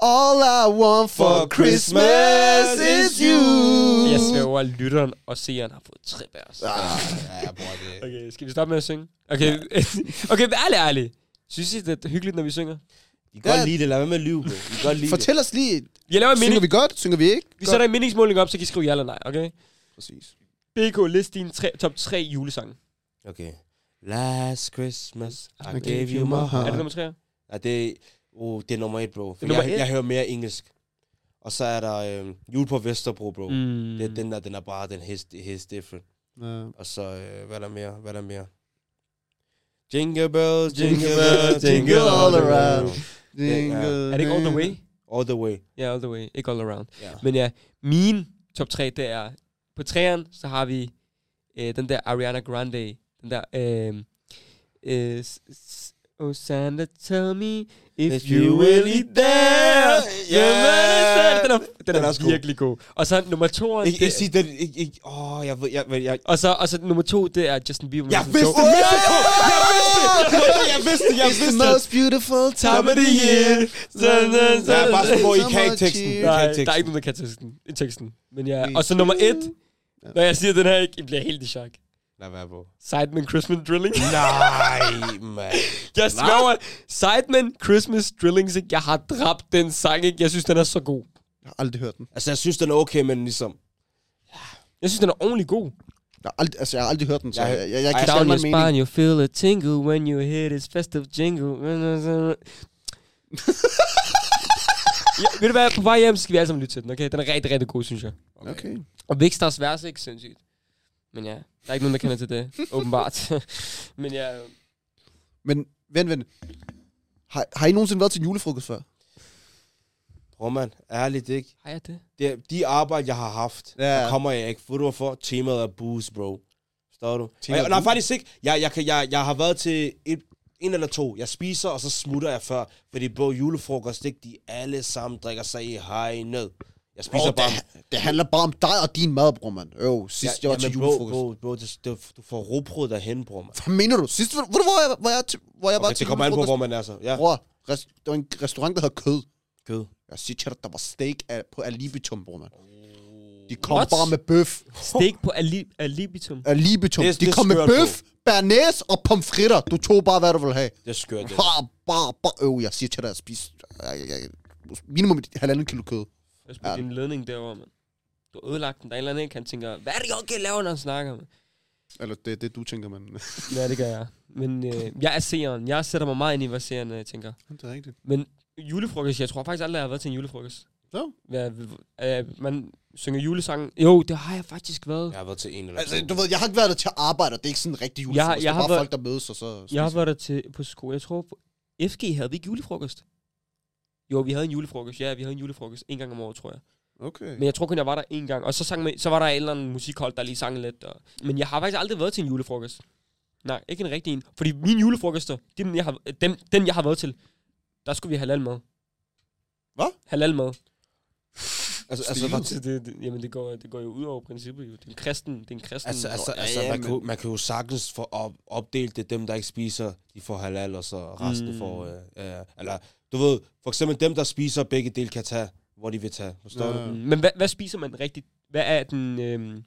[SPEAKER 4] All I want for Christmas is you.
[SPEAKER 3] Jeg svæver, at lytteren og seeren har fået trip af os.
[SPEAKER 5] Ja, bror, det
[SPEAKER 3] Okay, skal vi stoppe med at synge? Okay, okay ærlig, ærlig. Synes I, det er hyggeligt, når vi synger?
[SPEAKER 5] I kan godt
[SPEAKER 4] Ja.
[SPEAKER 5] lide det. Lad være med at lyve, bro. I kan godt lide det.
[SPEAKER 4] Fortæl os lige,
[SPEAKER 3] Jeg laver en
[SPEAKER 4] synger
[SPEAKER 3] mening. Vi,
[SPEAKER 4] vi godt, synger vi ikke?
[SPEAKER 3] vi sætter en meningsmåling op, så kan I skrive ja eller nej, okay?
[SPEAKER 4] Præcis.
[SPEAKER 3] BK, list din tre, top 3 julesange.
[SPEAKER 5] Okay. Last Christmas, I
[SPEAKER 4] I
[SPEAKER 5] gave you my
[SPEAKER 3] Er
[SPEAKER 5] heart.
[SPEAKER 3] det nummer 3?
[SPEAKER 5] Ja, det, oh, det er nummer et, bro. For
[SPEAKER 3] nummer
[SPEAKER 5] jeg,
[SPEAKER 3] et?
[SPEAKER 5] jeg hører mere engelsk. Og så er der øh, jul på Vesterbro, bro. Mm.
[SPEAKER 3] Mm.
[SPEAKER 5] Det, den der, den er bare, den hits, hits different.
[SPEAKER 4] Ja.
[SPEAKER 5] Og så, øh, hvad er der mere? Hvad er der mere? Jingle bells, jingle bells, jingle all around.
[SPEAKER 4] Jingle,
[SPEAKER 3] Er det ikke All The Way?
[SPEAKER 5] All the way.
[SPEAKER 3] Ja, All The Way. Ikke All Around.
[SPEAKER 5] Ja.
[SPEAKER 3] Men ja, min top 3, det er... På træeren, så har vi øh, den der Ariana Grande. Den der... Øh, øh, s- s- oh, Santa, tell me if,
[SPEAKER 5] If
[SPEAKER 3] you
[SPEAKER 5] you
[SPEAKER 3] really
[SPEAKER 5] really
[SPEAKER 3] dare.
[SPEAKER 5] dare.
[SPEAKER 3] Yeah. Den er, den
[SPEAKER 5] Den er
[SPEAKER 3] er,
[SPEAKER 5] også god.
[SPEAKER 3] virkelig god. Og så nummer to...
[SPEAKER 5] Ikke, ikke sige den, ikke, ikke, åh, oh, jeg ved, jeg, jeg, jeg,
[SPEAKER 3] og så, og så nummer to, det er Justin Bieber. med
[SPEAKER 5] jeg
[SPEAKER 3] Mistletoe.
[SPEAKER 5] vidste det, Mexico! Jeg vidste det! Jeg vidste det, jeg
[SPEAKER 4] It's the
[SPEAKER 5] vidste det!
[SPEAKER 4] most beautiful
[SPEAKER 3] Time
[SPEAKER 4] time
[SPEAKER 3] of the year. Dun, dun, dun.
[SPEAKER 5] Jeg er bare sådan, hvor I kan ikke teksten. I kan
[SPEAKER 3] Nej,
[SPEAKER 5] ikke
[SPEAKER 3] der er
[SPEAKER 5] teksten.
[SPEAKER 3] ikke nogen, der kan teksten. I teksten. Men ja,
[SPEAKER 4] Vi
[SPEAKER 3] og så nummer et. Når jeg siger den her ikke, I bliver helt i chok.
[SPEAKER 5] Lad være, bro.
[SPEAKER 3] Sidemen Christmas Drilling.
[SPEAKER 5] Nej, mand.
[SPEAKER 3] jeg svæver, Sidemen Christmas Drillings, ikke? jeg har dræbt den sang, ikke? jeg synes, den er så god.
[SPEAKER 4] Jeg har aldrig hørt den.
[SPEAKER 5] Altså, jeg synes, den er okay, men ligesom...
[SPEAKER 3] Jeg synes, den er ordentlig god.
[SPEAKER 4] Jeg har aldrig, altså, jeg har aldrig hørt den, så
[SPEAKER 5] Jeg-
[SPEAKER 4] jeg, jeg, jeg, jeg
[SPEAKER 5] Ej,
[SPEAKER 4] kan
[SPEAKER 5] Down
[SPEAKER 4] ikke min mening.
[SPEAKER 3] you feel a tingle when you hear this festive jingle. ja, ved du hvad, på vej hjem skal vi alle sammen lytte til den, okay? Den er rigtig, rigtig god, synes jeg.
[SPEAKER 4] Okay.
[SPEAKER 3] Og Vikstars vers er ikke sindssygt. Men ja, der er ikke nogen, der kender til det, åbenbart. Men ja,
[SPEAKER 4] Men vent, vent. Har, har I nogensinde været til en julefrokost før?
[SPEAKER 5] Bror, mand, ærligt, ikke?
[SPEAKER 3] har jeg det?
[SPEAKER 5] Det, er- de arbejde, jeg har haft,
[SPEAKER 4] Ja.
[SPEAKER 5] ja. der kommer jeg ikke. Ved du hvorfor? Temaet er booze, bro. Forstår du? Og
[SPEAKER 4] Temaet
[SPEAKER 5] jeg,
[SPEAKER 4] er
[SPEAKER 5] nej,
[SPEAKER 4] booze?
[SPEAKER 5] faktisk ikke. Jeg, jeg, kan, jeg, jeg har været til et, en eller to. Jeg spiser, og så smutter jeg før. Fordi på julefrokost, ikke? De alle sammen drikker sig i hegnet. Jeg
[SPEAKER 4] Bro,
[SPEAKER 5] spiser
[SPEAKER 4] det,
[SPEAKER 5] bare...
[SPEAKER 4] det handler bare om dig og din mad, bror, mand. Øv, sidst jeg var til
[SPEAKER 5] men bro,
[SPEAKER 4] julefrokost.
[SPEAKER 5] bro, bro, det, det, du får råbrød derhen, bror, mand.
[SPEAKER 4] Hvad mener du? Sidst, ved ved du, hvor jeg, hvor jeg, til- hvor jeg var
[SPEAKER 5] Okay,
[SPEAKER 4] til
[SPEAKER 5] det kommer an på, hvor
[SPEAKER 4] julefrokost?
[SPEAKER 5] man er så. Ja,
[SPEAKER 4] Bror, rest, der var en restaurant, der hedder Kød.
[SPEAKER 5] kød.
[SPEAKER 4] Jeg siger til dig, der var steak af, på Alibitum, bror, mand. De kom
[SPEAKER 3] What?
[SPEAKER 4] What? bare med bøf.
[SPEAKER 3] Stik på ali- alibitum.
[SPEAKER 4] Alibitum.
[SPEAKER 5] Det-
[SPEAKER 4] De
[SPEAKER 5] det
[SPEAKER 4] kom med
[SPEAKER 5] skørt,
[SPEAKER 4] bøf, bearnaise og pomfritter. Du tog bare, hvad du ville have.
[SPEAKER 5] Det er skørt, det.
[SPEAKER 4] Bare, bare, bare. Øv, jeg siger til dig, jeg spiser jeg, jeg, jeg, minimum et halvanden kilo kød.
[SPEAKER 3] Jeg spurgte
[SPEAKER 4] Ja.
[SPEAKER 3] din ledning derovre, mand. Du har ødelagt den. Der er en eller anden, ikke? han tænker, hvad er det, Jokke laver, når han snakker, mand?
[SPEAKER 4] Eller det er det, du tænker, man.
[SPEAKER 3] Ja, det gør jeg. Men øh, jeg er seeren. Jeg sætter mig meget ind i, hvad seeren øh, tænker.
[SPEAKER 4] det er rigtigt.
[SPEAKER 3] Men julefrokost, jeg tror faktisk aldrig, jeg har været til en julefrokost.
[SPEAKER 4] Nå.
[SPEAKER 3] Ja, øh, man synger julesangen. Jo, det har jeg faktisk været.
[SPEAKER 5] Jeg har været til en eller
[SPEAKER 4] Altså,
[SPEAKER 5] to.
[SPEAKER 4] du ved, jeg har ikke været der til at arbejde, og det er ikke sådan en rigtig julefrokost.
[SPEAKER 3] Jeg- jeg
[SPEAKER 4] det er
[SPEAKER 3] har
[SPEAKER 4] bare
[SPEAKER 3] været-
[SPEAKER 4] folk, der mødes, og så...
[SPEAKER 3] Jeg har været der til, på skole. Jeg tror, på FG havde vi ikke julefrokost. Jo, vi havde en julefrokost. Ja, vi havde en julefrokost en gang om året, tror jeg.
[SPEAKER 5] Okay.
[SPEAKER 3] Men jeg tror kun, jeg var der en gang. Og så, sang med, så var der et eller andet musikhold, der lige sang lidt. Og... Men jeg har faktisk aldrig været til en julefrokost. Nej, ikke en rigtig en. Fordi mine julefrokoster, dem jeg har, dem, den jeg har været til, der skulle vi have halal mad.
[SPEAKER 5] Hvad?
[SPEAKER 3] Halal mad.
[SPEAKER 5] Altså, altså,
[SPEAKER 4] Stilet.
[SPEAKER 5] hvor-
[SPEAKER 3] Så det, det, jamen, det går, det går jo ud over princippet. Jo. Det er en kristen, det er en kristen.
[SPEAKER 5] altså, altså,
[SPEAKER 4] ja,
[SPEAKER 5] altså
[SPEAKER 4] ja,
[SPEAKER 5] man, kan, jo-
[SPEAKER 4] men-
[SPEAKER 5] man kan jo sagtens få op, opdelt det. Dem, der ikke spiser, de får halal, og så resten
[SPEAKER 3] Mm.
[SPEAKER 5] mm. får... Øh, øh, eller, du ved, for eksempel dem, der spiser, begge dele kan tage, hvor de vil tage. Forstår
[SPEAKER 4] Ja.
[SPEAKER 5] ja.
[SPEAKER 3] Mm,
[SPEAKER 5] du?
[SPEAKER 3] Men hvad, hvad spiser man rigtigt? Hvad er den... Øhm,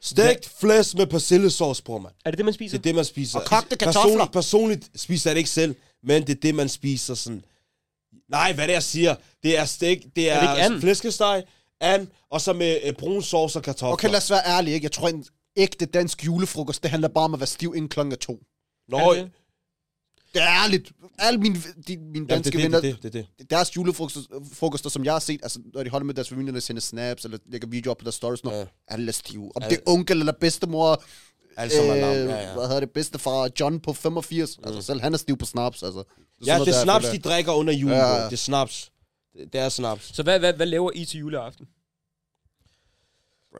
[SPEAKER 5] Stegt flæsk med persillesauce, bror, mand.
[SPEAKER 3] er det det, man
[SPEAKER 5] Det
[SPEAKER 3] spiser?
[SPEAKER 5] er det, man spiser.
[SPEAKER 4] Og kogte kartofler.
[SPEAKER 5] Personligt, personligt spiser jeg det ikke selv, men det er det, man spiser sådan... Nej, hvad er det, jeg siger? Det er stik, det er,
[SPEAKER 3] det ikke and?
[SPEAKER 5] flæskesteg, and, og så med øh, brun sauce og kartofler.
[SPEAKER 4] Okay, lad os være ærlige, ikke? Jeg tror, en ægte dansk julefrokost, det handler bare om at være stiv inden klokken er to.
[SPEAKER 5] Nå,
[SPEAKER 3] Er det det?
[SPEAKER 4] Det er ærligt. Alle mine, de, mine
[SPEAKER 5] Jamen,
[SPEAKER 4] danske
[SPEAKER 5] det, er
[SPEAKER 4] venner,
[SPEAKER 5] det, det, er det, det, er det.
[SPEAKER 4] deres julefrokoster, som jeg har set, altså, når de holder med deres familie, der sender snaps, eller lægger videoer op på deres stories, når
[SPEAKER 5] Ja.
[SPEAKER 4] alle er stive. Om
[SPEAKER 5] Ja.
[SPEAKER 4] det er onkel eller bedstemor,
[SPEAKER 5] Alt sammen
[SPEAKER 4] Øh,
[SPEAKER 5] er larm. Altså, Ja, ja.
[SPEAKER 4] hvad hedder det, bedstefar John på 85. Altså, selv han er stiv på snaps, altså.
[SPEAKER 5] Ja, det er snaps, de
[SPEAKER 4] de...
[SPEAKER 5] drikker under julen.
[SPEAKER 4] Ja.
[SPEAKER 5] Ja. Det er snaps. Det, det er snaps.
[SPEAKER 3] Så hvad, hvad, hvad laver I til juleaften?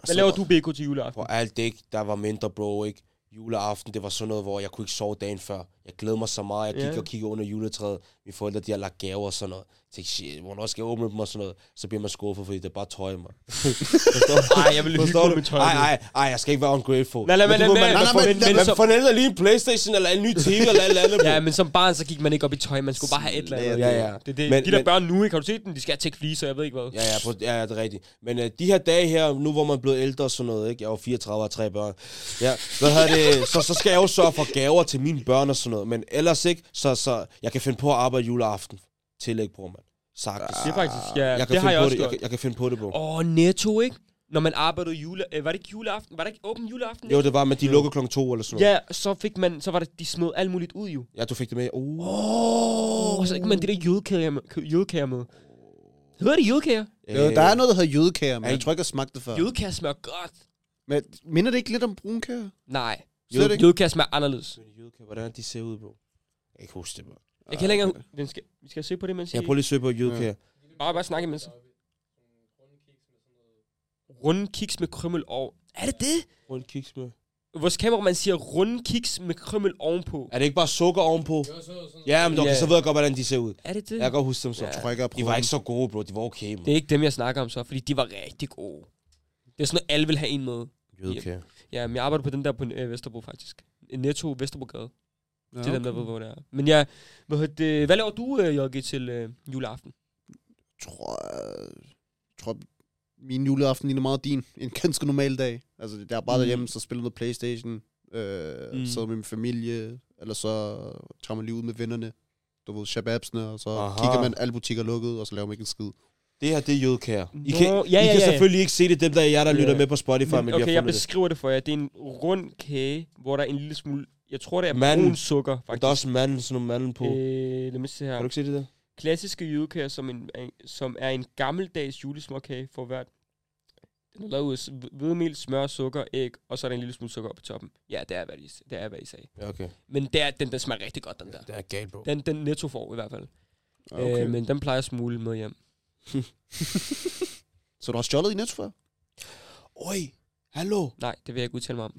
[SPEAKER 3] Hvad laver du, BK, til juleaften?
[SPEAKER 5] På alt det, ikke? der var mindre, bro, ikke? Juleaften, det var sådan noget, hvor jeg kunne ikke sove dagen før. Jeg glædede mig så meget. Jeg gik
[SPEAKER 3] Ja.
[SPEAKER 5] og kiggede under juletræet. Mine forældre, de har lagt gaver og sådan noget. Jeg tænkte, shit, hvornår skal jeg åbne dem og sådan noget? Så bliver man skuffet, fordi det er bare tøj, man.
[SPEAKER 3] Nej, jeg ville hygge
[SPEAKER 5] Forstår
[SPEAKER 3] mig
[SPEAKER 5] du?
[SPEAKER 3] med tøj.
[SPEAKER 5] Nej, nej, nej, jeg skal ikke være ungrateful.
[SPEAKER 3] Nej, lad mig-
[SPEAKER 5] Men du
[SPEAKER 3] lad
[SPEAKER 5] ved,
[SPEAKER 3] mig-
[SPEAKER 5] man-
[SPEAKER 3] lad
[SPEAKER 5] man
[SPEAKER 3] mig-
[SPEAKER 5] forventer-
[SPEAKER 3] lad mig-
[SPEAKER 5] Man forventer lige en Playstation eller en ny TV eller et eller andet. bro.
[SPEAKER 3] Ja, men som barn, så gik man ikke op i tøj. Man skulle bare have et eller andet.
[SPEAKER 5] Ja, ja.
[SPEAKER 3] Det, er det,
[SPEAKER 5] Men-
[SPEAKER 3] de der
[SPEAKER 5] men-
[SPEAKER 3] børn nu, ikke? Har du set dem? De skal have tech fleece, og jeg ved ikke hvad.
[SPEAKER 5] Ja, ja, på, ja, ja, det er rigtigt. Men øh, de her dage her, nu hvor man er blevet ældre og sådan noget, ikke? Jeg var 34 og har tre børn. Ja, hvad hedder det? Så, så skal jeg jo sørge for gaver til mine børn og sådan noget. Men ellers ikke, så, så jeg kan finde på at arbejde juleaften. Tillæg, bror, mand. Sagtens.
[SPEAKER 3] Det er faktisk, ja,
[SPEAKER 5] jeg kan
[SPEAKER 3] det har
[SPEAKER 5] finde
[SPEAKER 3] jeg
[SPEAKER 5] på
[SPEAKER 3] også
[SPEAKER 5] det. Jeg,
[SPEAKER 3] gjort.
[SPEAKER 5] kan, jeg kan finde på det, bro.
[SPEAKER 3] Åh, netto, ikke? Når man arbejdede jule... Øh, var det ikke juleaften? Var der ikke åben juleaften?
[SPEAKER 5] Jo,
[SPEAKER 3] ikke?
[SPEAKER 5] det var, men de lukker klokken to eller sådan noget.
[SPEAKER 3] Ja, så fik man... Så var det, de smed alt muligt ud, jo.
[SPEAKER 5] Ja, du fik det med. Uh.
[SPEAKER 3] Åh, oh, så ikke man det der jødekager med. kø- Jødekager med. Hedder det jødekager?
[SPEAKER 5] øh,
[SPEAKER 4] Jo, der er noget, der hedder jødekager, men
[SPEAKER 5] Ej.
[SPEAKER 4] jeg tror ikke, jeg smagte det før.
[SPEAKER 3] Jødekager smager godt.
[SPEAKER 4] Men minder det ikke lidt om brunkager?
[SPEAKER 3] Nej.
[SPEAKER 4] Slet
[SPEAKER 3] Jød-
[SPEAKER 4] ikke.
[SPEAKER 3] Jødekager smager anderledes.
[SPEAKER 5] Jødekager, Hvordan de ser ud, bro. Jeg kan ikke huske det, bro.
[SPEAKER 3] Jeg kan heller ikke... Den skal, vi skal se på det, mens
[SPEAKER 5] Jeg prøver lige at søge på jødekager.
[SPEAKER 3] Bare, bare snakke imens. Runde kiks med krymmel over. Er det det?
[SPEAKER 5] Rundt kiks med.
[SPEAKER 3] Vores kameramand siger runde kiks med krymmel ovenpå.
[SPEAKER 5] Er det ikke bare sukker ovenpå? Ja, men okay,
[SPEAKER 3] Ja.
[SPEAKER 5] så ved jeg godt, hvordan de ser ud.
[SPEAKER 3] Er det det?
[SPEAKER 5] Jeg kan godt huske dem så.
[SPEAKER 3] Ja.
[SPEAKER 4] Jeg tror ikke, jeg har
[SPEAKER 5] De
[SPEAKER 4] prøvet
[SPEAKER 5] var
[SPEAKER 4] den.
[SPEAKER 5] ikke så gode, bro. De var okay, man.
[SPEAKER 3] Det er ikke dem, jeg snakker om så, fordi de var rigtig gode. Det er sådan noget, alle vil have en med.
[SPEAKER 5] Jødekager.
[SPEAKER 3] Ja, men jeg arbejder på den der på øh, Vesterbro faktisk. Netto Vesterbrogade. Ja,
[SPEAKER 4] Ja,
[SPEAKER 3] Det er
[SPEAKER 4] okay.
[SPEAKER 3] den der, ved, hvor det er. Men ja, hvad, hedder det, hvad laver du, øh, JG, til øh, juleaften?
[SPEAKER 4] tror, jeg tror, min juleaften ligner meget din. En ganske normal dag. Altså, det er bare
[SPEAKER 3] Mm.
[SPEAKER 4] mm. derhjemme, så spiller noget Playstation, øh,
[SPEAKER 3] Mm.
[SPEAKER 4] mm. sidder med min familie, eller så tager man lige ud med vennerne. Du ved, shababsene, og så
[SPEAKER 5] Aha.
[SPEAKER 4] Aha. kigger man, alle butikker er lukket, og så laver man ikke en skid.
[SPEAKER 5] Det her, det er jødekager. I
[SPEAKER 3] Nå, ja,
[SPEAKER 5] kan, ja,
[SPEAKER 3] ja,
[SPEAKER 5] I kan
[SPEAKER 3] ja, ja.
[SPEAKER 5] selvfølgelig ikke se det, dem der er jer, der
[SPEAKER 3] Ja.
[SPEAKER 5] lytter med på Spotify, men,
[SPEAKER 3] Men,
[SPEAKER 5] vi
[SPEAKER 3] okay,
[SPEAKER 5] har
[SPEAKER 3] jeg
[SPEAKER 5] fundet det.
[SPEAKER 3] beskriver det. for jer. Det er en rund kage, hvor der er en lille smule... Jeg tror, det er
[SPEAKER 5] Manden.
[SPEAKER 3] brun sukker,
[SPEAKER 5] Men Der er
[SPEAKER 3] faktisk.
[SPEAKER 5] også manden, sådan nogle manden på. Øh,
[SPEAKER 3] Øh, lad mig se
[SPEAKER 5] kan du
[SPEAKER 3] her.
[SPEAKER 5] ikke se det der?
[SPEAKER 3] Klassiske jødekager, som, en, er en- som er en gammeldags julesmåkage for hvert. Den er lavet af s- hvedemel, smør, sukker, æg, og så er der en lille smule sukker på toppen. Ja, det er, hvad I, det er, hvad I sagde.
[SPEAKER 5] Ja, okay.
[SPEAKER 3] Men det er, den, den smager rigtig godt, den der.
[SPEAKER 5] Det er galt, bro.
[SPEAKER 3] Den, den netto får i hvert fald. Okay.
[SPEAKER 5] Ah,
[SPEAKER 4] Okay.
[SPEAKER 3] Øh, men den plejer at smule med hjem.
[SPEAKER 4] Så du har stjålet i Netto før?
[SPEAKER 5] Oj, hallo.
[SPEAKER 3] Nej, det vil jeg ikke udtale mig om.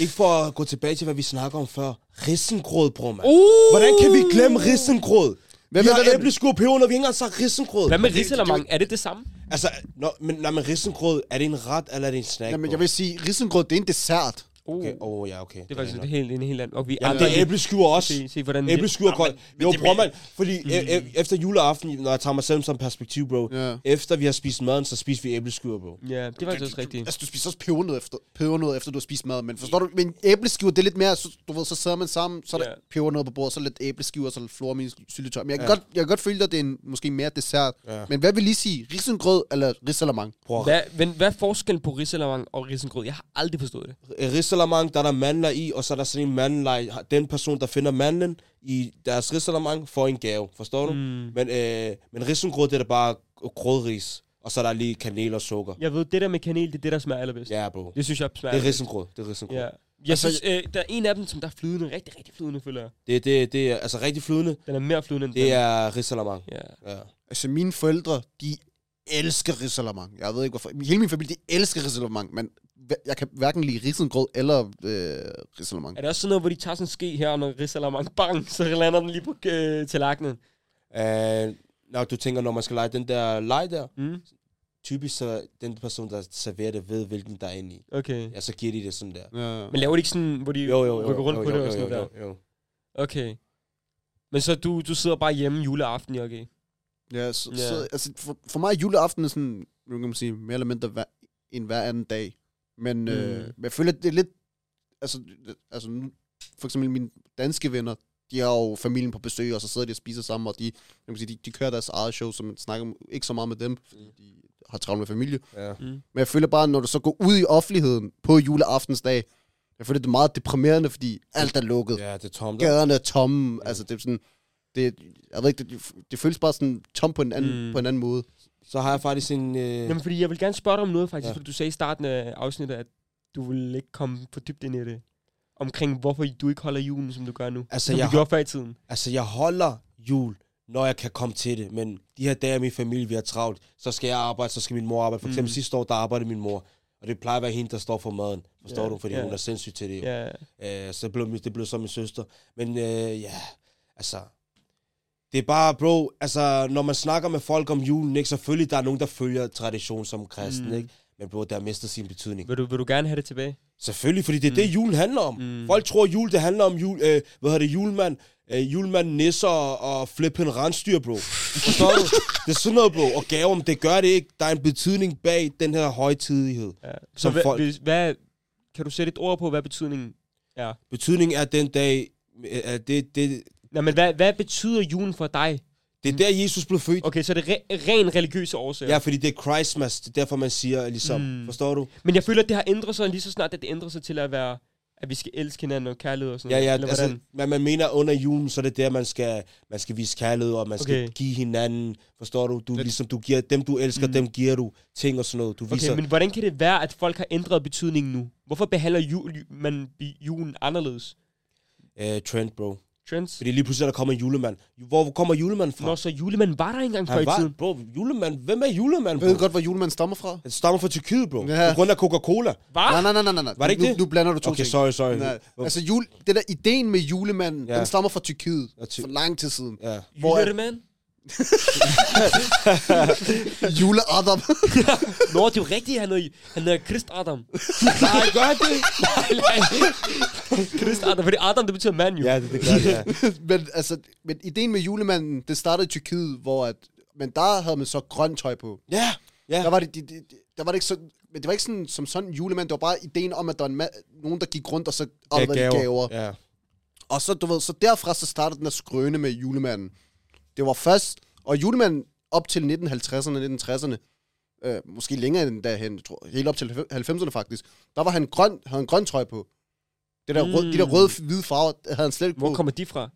[SPEAKER 5] Ikke for at gå tilbage til, hvad vi snakker om før. Risengrød, bror, mand.
[SPEAKER 3] Uh!
[SPEAKER 5] Hvordan kan vi glemme risengrød?
[SPEAKER 4] Hvad,
[SPEAKER 5] Vi
[SPEAKER 4] hvad,
[SPEAKER 5] har
[SPEAKER 4] hvad, hvad,
[SPEAKER 5] æbleskud og peber, når vi ikke engang har sagt risengrød.
[SPEAKER 3] Hvad med
[SPEAKER 5] Det-
[SPEAKER 3] risalamang? Er det det samme?
[SPEAKER 5] det- Altså, nå, men, nej, men risengrød, er det en ret, eller er det en snack?
[SPEAKER 4] Jamen,
[SPEAKER 5] bro?
[SPEAKER 4] jeg vil sige, risengrød, det er en dessert.
[SPEAKER 3] Uh.
[SPEAKER 5] Okay, åh, oh, ja, okay.
[SPEAKER 3] Det er faktisk
[SPEAKER 5] rigtigt
[SPEAKER 3] et helt, en helt anden. Og vi
[SPEAKER 5] Jamen,
[SPEAKER 3] andre
[SPEAKER 5] Ah, det er æbleskyver også.
[SPEAKER 3] se, se, hvordan
[SPEAKER 5] Æbleskyver
[SPEAKER 3] Nå,
[SPEAKER 5] koldt.
[SPEAKER 3] men- men
[SPEAKER 5] Jo,
[SPEAKER 3] det- Mm.
[SPEAKER 5] bror, mand. Fordi e- e- efter juleaften, når jeg tager mig selv som perspektiv, bro.
[SPEAKER 4] Ja.
[SPEAKER 5] Efter vi har spist maden, så spiser vi æbleskyver, bro.
[SPEAKER 3] Ja, det er faktisk også rigtigt.
[SPEAKER 4] Altså, du spiser også pebernød efter, pebernød efter du har spist mad, men forstår du, men æbleskiver, det er lidt mere, så, du ved, så sidder man sammen, så er der
[SPEAKER 3] Ja.
[SPEAKER 4] yeah. pebernød på bordet, så lidt æbleskiver, så lidt flormin syltetøj. Men jeg kan, godt, jeg kan godt føle, at det er en, måske mere dessert.
[SPEAKER 5] Ja.
[SPEAKER 4] Men hvad vil I sige? Risengrød eller risalamang?
[SPEAKER 5] Bror,
[SPEAKER 3] Hvad, men hvad er forskellen på risalamang og risengrød? Jeg har aldrig forstået det.
[SPEAKER 5] risalamang, der er der mandler i, og så er der sådan en mandlej. Den person, der finder mandlen i deres risalamang, får en gave. Forstår du?
[SPEAKER 3] Mm.
[SPEAKER 5] Men, øh, men risengrød, det er da bare grødris. Og så er der lige kanel og sukker.
[SPEAKER 3] Jeg ved, det der med kanel, det er det, der smager allerbedst.
[SPEAKER 5] Ja, bro.
[SPEAKER 3] Det synes jeg smager
[SPEAKER 5] Det er risengrød. Det er risengrød.
[SPEAKER 3] Ja. Jeg altså, synes, øh, der er en af dem, som der er flydende, rigtig, rigtig flydende, føler jeg.
[SPEAKER 5] Det, det, det er altså rigtig flydende.
[SPEAKER 3] Den er mere flydende end
[SPEAKER 5] Det
[SPEAKER 3] den.
[SPEAKER 5] er risalamang.
[SPEAKER 3] Ja.
[SPEAKER 5] Ja.
[SPEAKER 4] Altså, mine forældre, de elsker risalamang. Jeg ved ikke hvorfor. Hele min familie, de elsker risalamang, men hver- jeg kan hverken lide risengrød eller øh, risalamang.
[SPEAKER 3] Er det også sådan noget, hvor de tager sådan en ske her, og når Rizalamang bang, så lander den lige på øh, tallerkenen?
[SPEAKER 5] Øh, når du tænker, når man skal lege den der leg der,
[SPEAKER 3] Mm.
[SPEAKER 5] typisk så den person, der serverer det, ved, hvilken der er inde i.
[SPEAKER 3] Okay.
[SPEAKER 5] Ja, så giver de det sådan der.
[SPEAKER 4] Ja.
[SPEAKER 3] Men laver de ikke sådan, hvor de
[SPEAKER 5] Jo, jo, jo.
[SPEAKER 3] rykker rundt
[SPEAKER 5] jo,
[SPEAKER 3] på
[SPEAKER 5] jo,
[SPEAKER 3] det
[SPEAKER 5] jo,
[SPEAKER 3] og sådan
[SPEAKER 5] jo,
[SPEAKER 3] noget
[SPEAKER 5] Jo, jo.
[SPEAKER 3] der? Okay. Men så du, du sidder bare hjemme juleaften, Jokke?
[SPEAKER 4] Ja, så,
[SPEAKER 3] Ja.
[SPEAKER 4] yeah. så altså, for, for mig er juleaften er sådan, nu kan man sige, mere eller mindre hver, en hver anden dag. Men, mm. øh,
[SPEAKER 3] Mm.
[SPEAKER 4] men jeg føler, det er lidt, altså, det- altså nu- for eksempel mine danske venner, de har jo familien på besøg, og så sidder de og spiser sammen, og de, jeg kan sige, de, de kører deres eget show, så man snakker om- ikke så meget med dem, fordi de har travlt med familie.
[SPEAKER 5] Ja.
[SPEAKER 4] Men jeg føler bare, når du så går ud i offentligheden på juleaftensdag, jeg føler, det er meget deprimerende, fordi alt er lukket
[SPEAKER 5] ja, det er tomt.
[SPEAKER 4] gaderne er tomme. Mm. Altså, det er sådan... Det, jeg ved ikke, det, det føles bare sådan tom på en anden,
[SPEAKER 3] Mm.
[SPEAKER 4] mm. på en anden måde.
[SPEAKER 5] Så har jeg faktisk en... Øh,
[SPEAKER 3] Jamen, fordi jeg vil gerne spørge dig om noget, faktisk, ja.
[SPEAKER 5] Ja.
[SPEAKER 3] fordi du sagde i starten af afsnittet, at du ville ikke komme for dybt ind i det. Omkring, hvorfor du ikke holder julen, som du gør nu.
[SPEAKER 5] Altså,
[SPEAKER 3] som
[SPEAKER 5] jeg
[SPEAKER 3] du
[SPEAKER 5] har-
[SPEAKER 3] gjorde før i tiden.
[SPEAKER 5] Altså, jeg holder jul, når jeg kan komme til det. Men de her dage, min familie, vi har travlt, så skal jeg arbejde, så skal min mor arbejde. For eksempel
[SPEAKER 3] Mm.
[SPEAKER 5] mm. sidste år, der arbejdede min mor. Og det plejer at være hende, der står for maden. Forstår
[SPEAKER 3] Ja,
[SPEAKER 5] du? Fordi
[SPEAKER 3] ja.
[SPEAKER 5] hun er sindssyg til det. Jo.
[SPEAKER 3] Ja.
[SPEAKER 5] Øh, så det blev, det blev så min søster. Men øh, ja, altså... Det er bare, bro, altså, når man snakker med folk om julen, ikke, selvfølgelig der er nogen, der følger tradition som kristen,
[SPEAKER 3] Mm.
[SPEAKER 5] mm. ikke? Men bro, der mister sin betydning.
[SPEAKER 3] Vil, du, vil du gerne have det tilbage?
[SPEAKER 5] Selvfølgelig, fordi det er
[SPEAKER 3] Mm.
[SPEAKER 5] mm. det, julen handler om.
[SPEAKER 3] Mm.
[SPEAKER 5] Mm. Folk tror, jul det handler om jul, øh, hvad hedder det, julemand, øh, julemand nisser og, og flippen rensdyr, bro. Forstår du? Det er sådan noget, bro. Og gaver, men det gør det ikke. Der er en betydning bag den her højtidighed.
[SPEAKER 3] Ja. Så
[SPEAKER 5] Som
[SPEAKER 3] hva,
[SPEAKER 5] folk-
[SPEAKER 3] hvis, hvad, kan du sætte et ord på, hvad betydningen er?
[SPEAKER 5] Betydningen er den dag, øh, øh, det, det,
[SPEAKER 3] Nej, men hvad, hvad betyder julen for dig?
[SPEAKER 5] det er der, Jesus blev født.
[SPEAKER 3] Okay, så er det re- ren religiøse årsager.
[SPEAKER 5] Ja, fordi det er Christmas. Det er derfor, man siger, ligesom,
[SPEAKER 3] Mm.
[SPEAKER 5] mm. forstår du?
[SPEAKER 3] Men jeg føler, at det har ændret sig lige så snart, at det ændrer sig til at være, at vi skal elske hinanden og kærlighed og sådan
[SPEAKER 5] Ja, ja,
[SPEAKER 3] Eller
[SPEAKER 5] altså,
[SPEAKER 3] hvordan?
[SPEAKER 5] man, man mener under julen, så er det der, man skal, man skal vise kærlighed, og man skal
[SPEAKER 3] Okay.
[SPEAKER 5] give hinanden, forstår du? Du, ligesom, du giver, dem, du elsker,
[SPEAKER 3] Mm.
[SPEAKER 5] dem giver du ting og sådan noget. Du viser,
[SPEAKER 3] Okay, men hvordan kan det være, at folk har ændret betydningen nu? Hvorfor behandler jul, man bi- julen anderledes?
[SPEAKER 5] Øh, trend, bro.
[SPEAKER 3] Trends?
[SPEAKER 5] Fordi lige pludselig er der kommer en julemand. Hvor kommer julemanden fra?
[SPEAKER 3] Når så julemanden var der ikke engang før i
[SPEAKER 5] han var,
[SPEAKER 3] tiden.
[SPEAKER 5] bro, julemand. Hvem er julemanden,
[SPEAKER 4] Jeg ved
[SPEAKER 5] bro?
[SPEAKER 4] godt, hvor julemanden stammer fra.
[SPEAKER 5] Han stammer fra Tyrkiet, bro.
[SPEAKER 4] Ja.
[SPEAKER 5] Ja. På grund af Coca-Cola.
[SPEAKER 3] Var?
[SPEAKER 4] Ah! Nej, nej, nej, nej, nej.
[SPEAKER 5] Var det ikke
[SPEAKER 4] nu,
[SPEAKER 5] det?
[SPEAKER 4] Nu blander du to
[SPEAKER 5] Okay,
[SPEAKER 4] ting.
[SPEAKER 5] sorry, sorry.
[SPEAKER 4] Nej,
[SPEAKER 5] Hvor-
[SPEAKER 4] altså, jul, den der ideen med julemanden,
[SPEAKER 5] Ja.
[SPEAKER 4] den stammer fra Tyrkiet
[SPEAKER 5] Og ty-
[SPEAKER 4] for lang tid siden.
[SPEAKER 5] Ja.
[SPEAKER 4] hvor er-
[SPEAKER 3] Julemanden?
[SPEAKER 4] Juleadam.
[SPEAKER 3] Nå, det er jo rigtigt, han hedder, han hedder Christ Adam.
[SPEAKER 5] Nej, gør han det?
[SPEAKER 3] nej, nej. Christ Adam, fordi Adam, det betyder mand jo.
[SPEAKER 5] ja, det, det gør det, ja.
[SPEAKER 4] men, altså, men ideen med julemanden, det startede i Tyrkiet, hvor at, men der havde man så grønt tøj på.
[SPEAKER 5] Ja, ja.
[SPEAKER 4] Der var det, de, de, de- der var det ikke sådan, men det var ikke sådan, som sådan en julemand, det var bare ideen om, at der var en ma- nogen, der gik rundt, og så afleverede gaver. gaver.
[SPEAKER 5] Ja.
[SPEAKER 4] Og så, du ved, så derfra så startede den at skrøne med julemanden. Det var først, og julemanden op til 1950'erne, 1960'erne, øh, måske længere end derhen, jeg tror, helt op til 90'erne faktisk, der var han grøn, havde han grøn trøje på. Det der rød,
[SPEAKER 3] Mm.
[SPEAKER 4] De der røde hvide farver øh, havde han slet ikke
[SPEAKER 3] Hvor
[SPEAKER 4] på.
[SPEAKER 3] kommer de fra?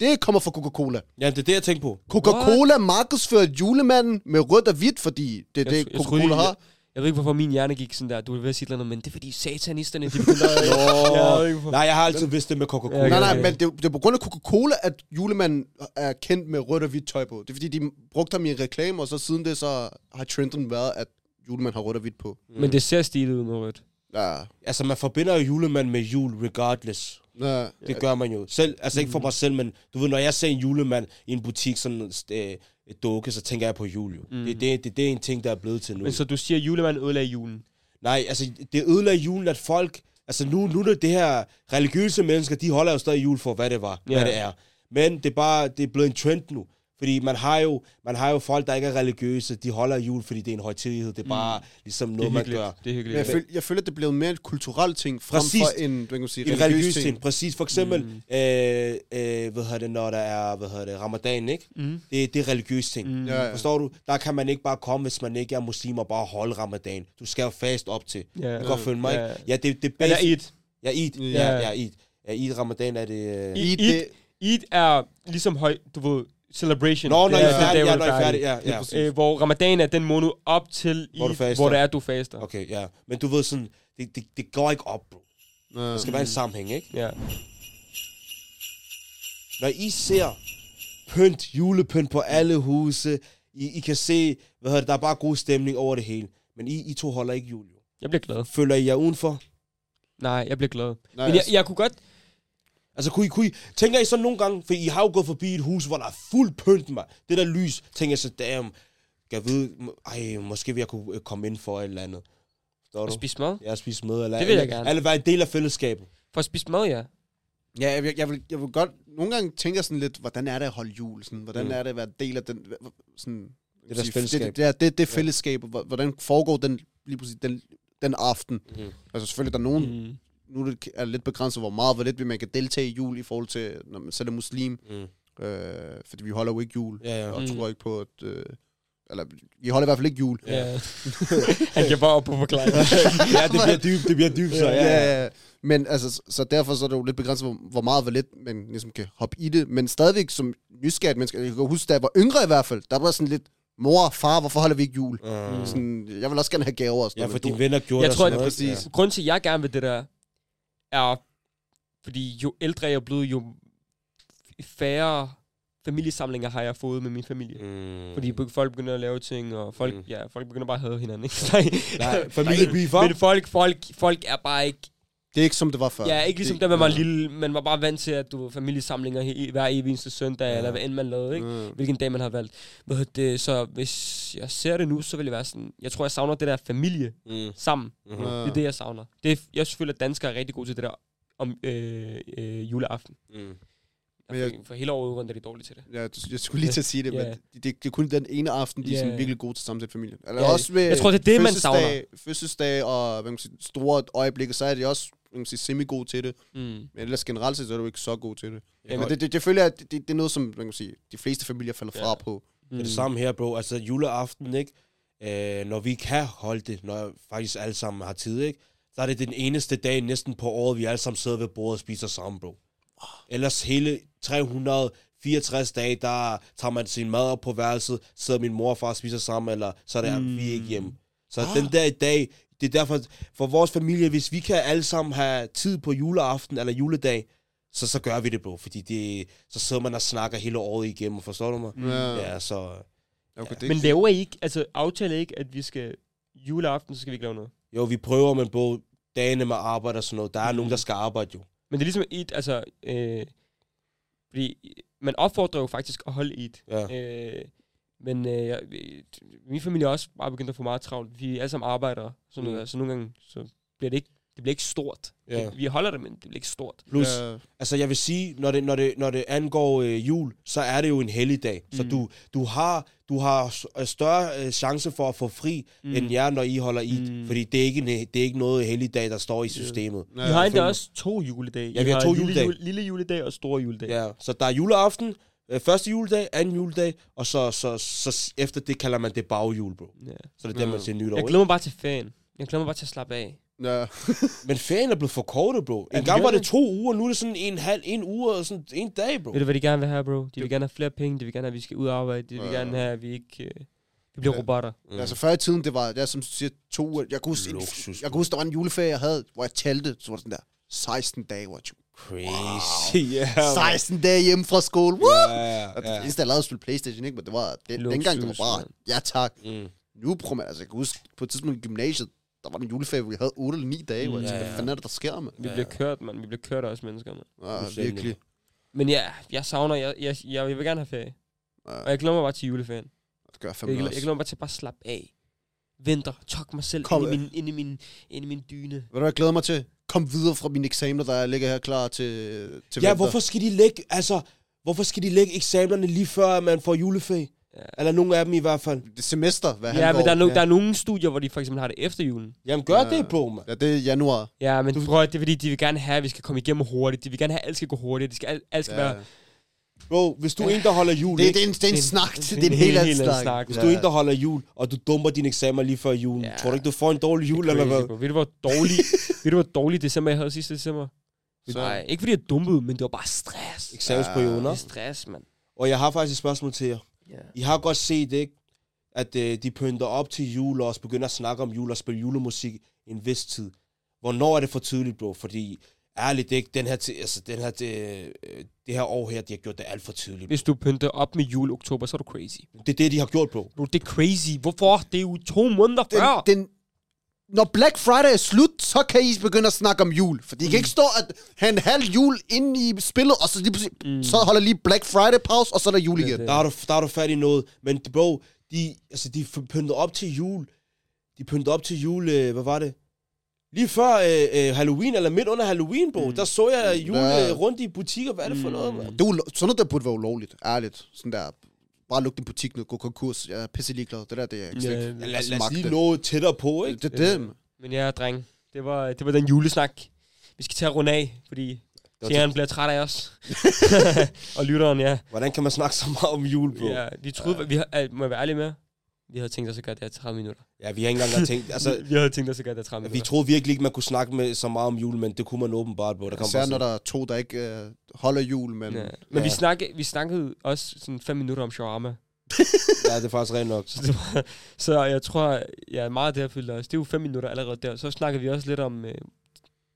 [SPEAKER 4] Det kommer fra Coca-Cola.
[SPEAKER 5] ja, det er det, jeg tænkte på.
[SPEAKER 4] Coca-Cola markedsførte julemanden med rødt og hvidt, fordi det er
[SPEAKER 3] Jeg tro-
[SPEAKER 4] det,
[SPEAKER 3] jeg troede
[SPEAKER 4] Coca-Cola
[SPEAKER 3] lige-
[SPEAKER 4] har.
[SPEAKER 3] Jeg ved ikke, hvorfor min hjerne gik sådan der. Du vil ved at sige et eller andet, men det er fordi satanisterne, de begynder at...
[SPEAKER 5] Åh,
[SPEAKER 3] Jeg ved ikke, hvorfor.
[SPEAKER 5] nej, jeg har altid vidst det med Coca-Cola.
[SPEAKER 3] Ja,
[SPEAKER 4] Nej,
[SPEAKER 3] ja,
[SPEAKER 4] nej,
[SPEAKER 3] ja.
[SPEAKER 4] men det, er- det er på grund af Coca-Cola, at julemanden er kendt med rødt og hvidt tøj på. Det er fordi, de brugte ham i en reklame, og så siden det, så har trenden været, at julemanden har rødt og hvidt på.
[SPEAKER 3] Men det ser stilet ud med rødt.
[SPEAKER 4] Ja,
[SPEAKER 5] Altså, man forbinder jo julemanden med jul, regardless.
[SPEAKER 4] ja.
[SPEAKER 5] Det gør man jo. Selv, altså
[SPEAKER 3] Mm.
[SPEAKER 5] ikke for mig selv, men du ved, når jeg ser en julemand i en butik, sådan øh, et dukke, så tænker jeg på jul jo. Mm. Det, det, det, det er en ting, der er blevet til nu.
[SPEAKER 3] Men
[SPEAKER 5] Men
[SPEAKER 3] så du siger, at julemanden ødelagde julen.
[SPEAKER 5] Nej, altså det ødelagde julen, at folk... Altså nu, nu er det, det her religiøse mennesker, de holder jo stadig jul for, hvad det var,
[SPEAKER 3] Ja.
[SPEAKER 5] hvad det er. Men det er bare, det er blevet en trend nu. Fordi man har, jo, man har jo folk, der ikke er religiøse, de holder jul, fordi det er en højtidighed. Det er bare mm. ligesom
[SPEAKER 3] Det er
[SPEAKER 5] noget, man
[SPEAKER 3] hyggeligt.
[SPEAKER 5] gør.
[SPEAKER 3] Det er
[SPEAKER 4] Men jeg,
[SPEAKER 3] hyggeligt.
[SPEAKER 4] føl, jeg føler, at det blev mere en kulturel ting, frem
[SPEAKER 5] Præcis.
[SPEAKER 4] for en, hvad kan man sige,
[SPEAKER 5] en religiøs ting. Præcis, for eksempel, mm. øh, øh, hvad hedder det, når der er, hvad hedder det, ramadan, ikke?
[SPEAKER 3] Mm.
[SPEAKER 5] Det, det er religiøs ting. Mm.
[SPEAKER 4] Ja, ja.
[SPEAKER 5] Forstår du? Der kan man ikke bare komme, hvis man ikke er muslim, og bare holde ramadan. Du skal jo fast op til.
[SPEAKER 3] Ja.
[SPEAKER 5] Du kan godt følge mig,
[SPEAKER 3] Ja.
[SPEAKER 5] ikke? Ja, det, det er
[SPEAKER 3] Eller
[SPEAKER 5] basic.
[SPEAKER 3] et.
[SPEAKER 5] Ja, Eid.
[SPEAKER 3] Ja.
[SPEAKER 5] Ja, ja, Eid. Ja, Eid ramadan er det... Øh...
[SPEAKER 3] I,
[SPEAKER 4] Eid,
[SPEAKER 3] Eid,
[SPEAKER 4] det-
[SPEAKER 3] Eid er ligesom høj, du ved, celebration.
[SPEAKER 5] Nå, når
[SPEAKER 3] Det
[SPEAKER 5] jeg er
[SPEAKER 3] den
[SPEAKER 5] færdig,
[SPEAKER 3] dag,
[SPEAKER 5] ja,
[SPEAKER 3] hvor
[SPEAKER 5] når
[SPEAKER 3] du
[SPEAKER 5] jeg er færdig, ja, ja.
[SPEAKER 3] Øh, hvor ramadan er den måned op til,
[SPEAKER 5] Hvor du
[SPEAKER 3] Eid,
[SPEAKER 5] faster.
[SPEAKER 3] hvor det er, du faster. Okay.
[SPEAKER 5] Okay, ja. Men du ved sådan, det, det, det går ikke op, bro. Der skal være en
[SPEAKER 3] Mm.
[SPEAKER 5] sammenhæng, ikke?
[SPEAKER 3] Ja.
[SPEAKER 5] Når I ser pynt, julepynt på alle huse, I, I kan se, hvad hedder det, der er bare god stemning over det hele. Men I, I to holder ikke jul. jo.
[SPEAKER 3] Jeg bliver glad.
[SPEAKER 5] Føler I jer udenfor?
[SPEAKER 3] Nej, jeg bliver glad.
[SPEAKER 4] Nej,
[SPEAKER 3] Men jeg,
[SPEAKER 4] altså-
[SPEAKER 3] jeg kunne godt...
[SPEAKER 5] Altså, kunne I, kunne I, tænker I så nogle gange, for I har jo gået forbi et hus, hvor der er fuld pynt, mig. Det der lys, tænker jeg så, damn, jeg ved, m- ej, måske vil jeg kunne øh, komme ind for et eller andet. Står
[SPEAKER 3] For
[SPEAKER 5] du?
[SPEAKER 3] at spise mad?
[SPEAKER 5] Jeg spiser med, eller,
[SPEAKER 3] Det vil jeg
[SPEAKER 5] eller,
[SPEAKER 3] gerne.
[SPEAKER 5] eller være en del af fællesskabet.
[SPEAKER 3] For at spise mad, ja.
[SPEAKER 4] Ja, jeg, vil- jeg, vil, jeg vil godt... Nogle gange tænker jeg sådan lidt, hvordan er det at holde jul? Sådan, hvordan
[SPEAKER 5] Mm.
[SPEAKER 4] mm. er det at være en del af den... hva- hva- Sådan,
[SPEAKER 5] Det
[SPEAKER 4] sige,
[SPEAKER 5] der fællesskab.
[SPEAKER 4] Det, det, er- det, det fællesskab, hvor- hvordan foregår den, lige præcis, den, den aften?
[SPEAKER 5] Mm.
[SPEAKER 4] Mm. Altså selvfølgelig, der er nogen... Mm.
[SPEAKER 3] Mm.
[SPEAKER 4] Nu er det- er det lidt begrænset, hvor meget, hvor lidt man kan deltage i jul i forhold til, når man selv er muslim.
[SPEAKER 5] Mm.
[SPEAKER 4] Øh, fordi vi holder jo ikke jul.
[SPEAKER 5] Ja, ja.
[SPEAKER 4] Og
[SPEAKER 3] Mm.
[SPEAKER 4] mm. tror ikke på, at... Øh, eller, vi holder i hvert fald ikke jul.
[SPEAKER 3] Ja. Han kan bare op på forklaringen.
[SPEAKER 5] ja, det bliver dybt, det bliver dybt, så ja. ja.
[SPEAKER 4] ja, ja. Men altså, så- så derfor så er det jo lidt begrænset, hvor, hvor meget, hvor lidt man ligesom kan hoppe i det. Men stadigvæk som nysgerrigt menneske, jeg kan huske, da jeg var yngre i hvert fald, der var jeg sådan lidt, mor, far, hvorfor holder vi ikke jul?
[SPEAKER 5] Mm.
[SPEAKER 4] Mm. Sådan, jeg vil også gerne have gaver og sådan
[SPEAKER 5] Ja,
[SPEAKER 4] noget,
[SPEAKER 5] for
[SPEAKER 4] men
[SPEAKER 5] dine venner gjorde
[SPEAKER 3] Jeg
[SPEAKER 5] det og
[SPEAKER 3] tror,
[SPEAKER 5] sådan
[SPEAKER 3] at-
[SPEAKER 5] noget, ikke?
[SPEAKER 4] præcis.
[SPEAKER 5] Ja.
[SPEAKER 3] Grunden til, at jeg gerne vil det der, er, fordi jo ældre jeg er blevet, jo færre familiesamlinger har jeg fået med min familie.
[SPEAKER 5] Mm.
[SPEAKER 3] Fordi be- folk begynder at lave ting, og folk,
[SPEAKER 5] Mm.
[SPEAKER 3] mm. ja, folk begynder bare at have hinanden. Ikke?
[SPEAKER 5] Nej, familiebeefer.
[SPEAKER 3] Men folk, folk, folk er bare ikke...
[SPEAKER 4] Det er ikke som det var før.
[SPEAKER 3] Ja, ikke ligesom
[SPEAKER 4] det,
[SPEAKER 3] da man var lille. Man var bare vant til, at du ved, familiesamlinger he- hver evig eneste søndag,
[SPEAKER 5] Ja.
[SPEAKER 3] ja. eller hvad end man lavede, ikke?
[SPEAKER 4] Mm.
[SPEAKER 3] Hvilken dag man har valgt. Hvad hedder det, så hvis jeg ser det nu, så vil jeg være sådan... Jeg tror, jeg savner det der familie
[SPEAKER 5] Mm.
[SPEAKER 3] sammen.
[SPEAKER 5] Mhm.
[SPEAKER 4] Mm-hmm. Ja.
[SPEAKER 3] Det er det, jeg savner. Det er, jeg føler, at danskere er rigtig gode til det der om øh, øh, juleaften.
[SPEAKER 5] Mm.
[SPEAKER 4] Men
[SPEAKER 3] Jeg,
[SPEAKER 4] jeg-
[SPEAKER 3] for hele året rundt er de dårlige til det.
[SPEAKER 4] Ja, du- jeg skulle lige til at sige det,
[SPEAKER 3] Ja.
[SPEAKER 4] yeah. men det, det, det er kun den ene aften, de er
[SPEAKER 3] Ja,
[SPEAKER 4] sådan
[SPEAKER 3] ja.
[SPEAKER 4] virkelig gode til at sammensætte familien. Eller
[SPEAKER 3] Ja,
[SPEAKER 4] også ved
[SPEAKER 3] jeg tror, det er det, man
[SPEAKER 4] fødselsdage-
[SPEAKER 3] savner.
[SPEAKER 4] Fødselsdage og hvad man kan sige, store øjeblikke, så er de også hvad man kan sige, semi-gode til det.
[SPEAKER 3] Mm.
[SPEAKER 4] Men ellers generelt set, så er du ikke så god til det.
[SPEAKER 5] Ja,
[SPEAKER 4] Ja,
[SPEAKER 5] godt.
[SPEAKER 4] men det, det, det føler jeg, det, det, det er noget, som man kan sige, de fleste familier falder
[SPEAKER 3] Ja.
[SPEAKER 4] fra på.
[SPEAKER 5] Det er det samme her, bro. Altså juleaften, ikke? Øh, når vi kan holde det, når faktisk alle sammen har tid, ikke? Så er det den eneste dag næsten på året, vi alle sammen sidder ved bordet og spiser sammen, bro. Ellers hele 364 dage, der tager man sin mad op på værelset, sidder min mor og far og spiser sammen, eller så er det, mm. vi er ikke hjemme. Så ah. den der i dag, det er derfor, for vores familie, hvis vi kan alle sammen have tid på juleaften eller juledag, så, så gør vi det, bro. Fordi det, så sidder man og snakker hele året igennem, forstår du mig?
[SPEAKER 4] Mm. Ja,
[SPEAKER 5] Ja, så...
[SPEAKER 4] okay,
[SPEAKER 5] ja.
[SPEAKER 4] det,
[SPEAKER 3] Men
[SPEAKER 4] men,
[SPEAKER 3] laver I ikke, altså aftaler I ikke, at vi skal juleaften, så skal vi ikke lave noget?
[SPEAKER 5] Jo, vi prøver, men på dagene med arbejde og sådan noget, der er mm.
[SPEAKER 3] Mhm.
[SPEAKER 5] nogen, der skal arbejde jo.
[SPEAKER 3] Men det er ligesom et, altså, øh, fordi man opfordrer jo faktisk at holde et.
[SPEAKER 5] Ja.
[SPEAKER 3] Øh, men øh, jeg, øh, min familie er også bare begyndt at få meget travlt. Vi er alle sammen arbejdere, sådan
[SPEAKER 5] Mm.
[SPEAKER 3] noget, der, så nogle gange så bliver det ikke, det bliver ikke stort.
[SPEAKER 5] Ja.
[SPEAKER 3] Det, vi holder det, men det bliver ikke stort.
[SPEAKER 5] Plus, ja.
[SPEAKER 4] ja,
[SPEAKER 5] altså jeg vil sige, når det, når det, når det angår øh, jul, så er det jo en helligdag. Mm. Så
[SPEAKER 3] Mm.
[SPEAKER 5] du, du har, du har s- øh, større øh, chance for at få fri, mm. end jer, når I holder i. Mm.
[SPEAKER 3] Mm.
[SPEAKER 5] Fordi det er, ikke en, det er ikke noget helligdag, der står i systemet.
[SPEAKER 4] ja,
[SPEAKER 3] I har endda
[SPEAKER 5] fandme.
[SPEAKER 3] også to juledage.
[SPEAKER 5] Ja,
[SPEAKER 3] I
[SPEAKER 5] vi har to
[SPEAKER 3] lille
[SPEAKER 5] juledage.
[SPEAKER 3] Jule, lille juledag og store juledag.
[SPEAKER 5] Ja. Så der er juleaften, øh, første juledag, anden juledag, og så, så, så, s- efter det kalder man det bagjul, bro.
[SPEAKER 3] Ja.
[SPEAKER 5] Så det er det, man
[SPEAKER 4] Ja.
[SPEAKER 5] siger nytår.
[SPEAKER 3] Jeg
[SPEAKER 5] ikke?
[SPEAKER 3] glæder mig bare til ferien. Jeg glæder mig bare til at slappe af.
[SPEAKER 4] ja.
[SPEAKER 5] Men ferien er blevet forkortet, bro. En
[SPEAKER 3] den
[SPEAKER 5] gang
[SPEAKER 3] gør
[SPEAKER 5] var det
[SPEAKER 3] det?
[SPEAKER 5] to uger, nu er det sådan en halv, en uge og sådan en dag, bro.
[SPEAKER 3] Ved du, hvad de gerne vil have, bro? De vil gerne have flere penge, de vil gerne have, at vi skal ud og arbejde, de vil
[SPEAKER 4] Ja.
[SPEAKER 3] gerne have, at vi ikke øh, vi bliver
[SPEAKER 4] Ja.
[SPEAKER 3] robotter.
[SPEAKER 5] Mm.
[SPEAKER 4] Altså før i tiden, det var, ja, som du siger, to uger. Jeg kunne, huske,
[SPEAKER 5] Luksus,
[SPEAKER 4] en, jeg kunne huske, der var en juleferie, jeg havde, hvor jeg talte, så var det sådan der, 16 dage, hvor jeg tog-
[SPEAKER 5] Crazy, yeah.
[SPEAKER 4] 16 dage hjemme fra skole. Woo!
[SPEAKER 5] Ja,
[SPEAKER 4] Og det
[SPEAKER 5] ja.
[SPEAKER 4] eneste, jeg lavede, var at spille Playstation, ikke? Men det var, det,
[SPEAKER 3] Luksus,
[SPEAKER 4] dengang, det var bare,
[SPEAKER 3] mand.
[SPEAKER 4] ja tak.
[SPEAKER 5] Mm.
[SPEAKER 4] Nu prøver man, altså jeg kan huske, på et tidspunkt i gymnasiet, der var en juleferie, hvor jeg havde 8 eller 9 dage, hvor jeg
[SPEAKER 5] Ja,
[SPEAKER 4] tænkte,
[SPEAKER 5] ja.
[SPEAKER 4] hvad fanden er det, der sker, mand?
[SPEAKER 3] Vi
[SPEAKER 5] Ja.
[SPEAKER 3] bliver kørt, mand. Vi bliver kørt af os mennesker, mand.
[SPEAKER 4] Ja,
[SPEAKER 5] Fuldstændig.
[SPEAKER 4] virkelig.
[SPEAKER 3] Men ja, jeg savner, jeg, jeg, jeg, jeg vil gerne have ferie.
[SPEAKER 4] Ja,
[SPEAKER 3] Og jeg glæder mig bare til juleferien.
[SPEAKER 4] det
[SPEAKER 3] Jeg,
[SPEAKER 4] gør jeg
[SPEAKER 3] jeg,
[SPEAKER 4] fandme
[SPEAKER 3] jeg
[SPEAKER 4] også.
[SPEAKER 3] glæder mig bare til at bare slappe af. Vinter, tok mig selv ind,
[SPEAKER 4] Kom
[SPEAKER 3] i
[SPEAKER 4] af.
[SPEAKER 3] min, ind, i min, ind i min dyne.
[SPEAKER 4] Ved du, hvad jeg glæder mig til? Kom videre fra mine eksamener, der ligger her klar til, til
[SPEAKER 5] ja,
[SPEAKER 4] vinter.
[SPEAKER 5] hvorfor skal de lægge, altså, hvorfor skal de lægge eksamenerne lige før, man får juleferie?
[SPEAKER 3] Ja.
[SPEAKER 5] Eller nogle af dem i hvert fald.
[SPEAKER 4] Det er semester, hvad
[SPEAKER 3] Ja,
[SPEAKER 4] han
[SPEAKER 3] men der er, no,
[SPEAKER 5] ja.
[SPEAKER 3] der er nogle studier, hvor de for eksempel har det efter julen.
[SPEAKER 5] Jamen, gør
[SPEAKER 4] Ja.
[SPEAKER 5] det, bro, man.
[SPEAKER 4] Ja, det er januar.
[SPEAKER 3] Ja, men du... prøv at- det er fordi, de vil gerne have, at vi skal komme igennem hurtigt. De vil gerne have, at alt skal gå hurtigt. Det skal, alt, alt skal
[SPEAKER 4] Ja.
[SPEAKER 3] være...
[SPEAKER 5] Bro, hvis du er en, der holder jul,
[SPEAKER 4] Det,
[SPEAKER 5] ikke?
[SPEAKER 4] det, er en, det er en snak, det, det er en helt anden snak.
[SPEAKER 5] Hvis du er en, der holder jul, og du dumper dine eksamener lige før julen,
[SPEAKER 3] Ja.
[SPEAKER 5] tror du ikke, du får en dårlig jul, eller hvad?
[SPEAKER 3] Crazy, bro. Ved du, hvor dårlig, ved du, hvor dårlig december jeg havde sidste december?
[SPEAKER 4] Så-
[SPEAKER 3] Nej, ikke fordi jeg dumpede, men det var bare stress.
[SPEAKER 5] Eksamensperioden,
[SPEAKER 3] Det
[SPEAKER 5] ja.
[SPEAKER 3] er stress, mand.
[SPEAKER 5] Og jeg har faktisk et spørgsmål til jer.
[SPEAKER 3] Ja.
[SPEAKER 5] I har godt set, ikke? At øh, de pynter op til jul og også begynder at snakke om jul og spille julemusik en vis tid. Hvornår er det for tidligt, bro? Fordi ærligt, det er ikke den her, ti- altså, den her, det, øh, det her år her, de har gjort det alt for tidligt.
[SPEAKER 3] Hvis du pynter op med jul oktober, så er du crazy.
[SPEAKER 5] Det er det, de har gjort, bro.
[SPEAKER 3] Bro, det er crazy. Hvorfor? Det er jo to måneder
[SPEAKER 4] Den,
[SPEAKER 3] før.
[SPEAKER 4] den, når Black Friday er slut, så kan I begynde at snakke om jul. For de kan ikke stå at have en halv jul inde i spillet, og så, lige pludselig- så holder lige Black Friday pause, og så er der jul igen.
[SPEAKER 3] det.
[SPEAKER 5] Der har du, der har du fat i noget. Men bro, de, altså, de pyntede op til jul. De pyntede op til jul, øh, hvad var det? Lige før øh, øh, Halloween, eller midt under Halloween, bro, mm. der så jeg jul
[SPEAKER 4] Ja.
[SPEAKER 5] ja. rundt i butikker. Hvad er det for noget, mand?
[SPEAKER 4] Det er ulo- sådan noget, der burde være ulovligt, ærligt. Sådan der, bare luk din butik ned, gå konkurs, jeg er pisse ligeglad. Det der, det er jeg ikke
[SPEAKER 3] Ja,
[SPEAKER 4] yeah,
[SPEAKER 3] ja,
[SPEAKER 4] yeah.
[SPEAKER 3] ja.
[SPEAKER 5] Lad, lad os lige nå tættere på, ikke?
[SPEAKER 4] Det er dem.
[SPEAKER 3] Men ja, dreng. Det var, det var den julesnak. Vi skal tage runde af, fordi
[SPEAKER 5] var
[SPEAKER 3] Sjæren bliver træt af os. og lytteren, ja.
[SPEAKER 5] Hvordan kan man snakke så meget om jul, bro? Ja,
[SPEAKER 3] ja vi troede, vi, har- øh, må jeg være ærlig med? Vi havde tænkt os at gøre det her 30 minutter.
[SPEAKER 5] ja vi har ikke engang tænkt... Altså,
[SPEAKER 3] Altså, vi havde tænkt os at gøre det her 30
[SPEAKER 5] vi
[SPEAKER 3] minutter.
[SPEAKER 5] troede virkelig ikke, man kunne snakke med så meget om jul, men det kunne man åbenbart, bro. Der kom
[SPEAKER 4] Især
[SPEAKER 5] bare
[SPEAKER 4] når
[SPEAKER 5] sådan-
[SPEAKER 4] der er to, der ikke øh, holder jul, men...
[SPEAKER 3] Ja.
[SPEAKER 4] Yeah.
[SPEAKER 3] Men vi,
[SPEAKER 5] Ja.
[SPEAKER 3] snakke, vi snakkede også sådan 5 minutter om shawarma.
[SPEAKER 5] Ja, det er faktisk rent nok.
[SPEAKER 3] Så, det var, så jeg tror, ja, meget af det her fyldte os. Det er jo 5 minutter allerede der. Så snakkede vi også lidt om... Øh,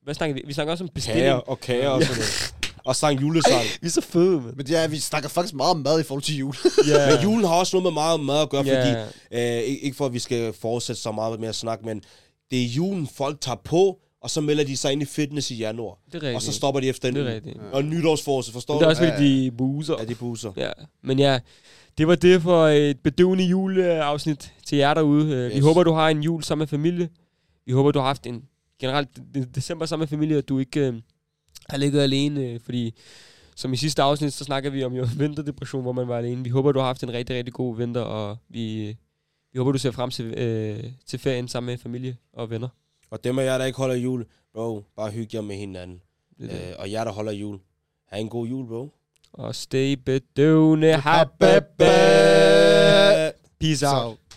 [SPEAKER 3] hvad snakkede vi? Vi snakkede også om bestilling.
[SPEAKER 5] Kager og kager og sådan noget. Og sang julesang.
[SPEAKER 3] Vi er så fede, mand.
[SPEAKER 4] Men ja, vi snakker faktisk meget om mad i forhold til jul.
[SPEAKER 3] Ja.
[SPEAKER 5] Men julen har også noget med meget mad at gøre,
[SPEAKER 3] Ja.
[SPEAKER 5] fordi Øh, ikke ikke for, at vi skal fortsætte så meget med at snakke, men det er julen, folk tager på, og så melder de sig ind i fitness i januar.
[SPEAKER 3] Det er rigtigt.
[SPEAKER 5] Og så stopper de efter en
[SPEAKER 3] Det er
[SPEAKER 5] uge.
[SPEAKER 3] rigtigt.
[SPEAKER 5] Og nytårsforsæt, forstår
[SPEAKER 3] Men det er
[SPEAKER 5] du?
[SPEAKER 3] også fordi, de buser.
[SPEAKER 5] Ja, de buser.
[SPEAKER 3] Ja, men ja, det var det for et bedøvende juleafsnit til jer derude. Øh, Vi
[SPEAKER 5] Yes.
[SPEAKER 3] håber, du har en jul sammen med familie. Vi håber, du har haft en generelt en december sammen med familie, og du ikke øh, har ligget alene, øh, fordi som i sidste afsnit, så snakker vi om jo vinterdepression, hvor man var alene. Vi håber, du har haft en rigtig, rigtig god vinter, og vi, vi håber, du ser frem til, øh, til ferien sammen med familie og venner.
[SPEAKER 5] Og dem af jer, der ikke holder jul, bro, bare hygge jer med hinanden.
[SPEAKER 3] Det er det.
[SPEAKER 5] Øh, og jer, der holder jul, have en god jul, bro.
[SPEAKER 3] Og stay bedøvende. Happy Peace out.
[SPEAKER 4] Så-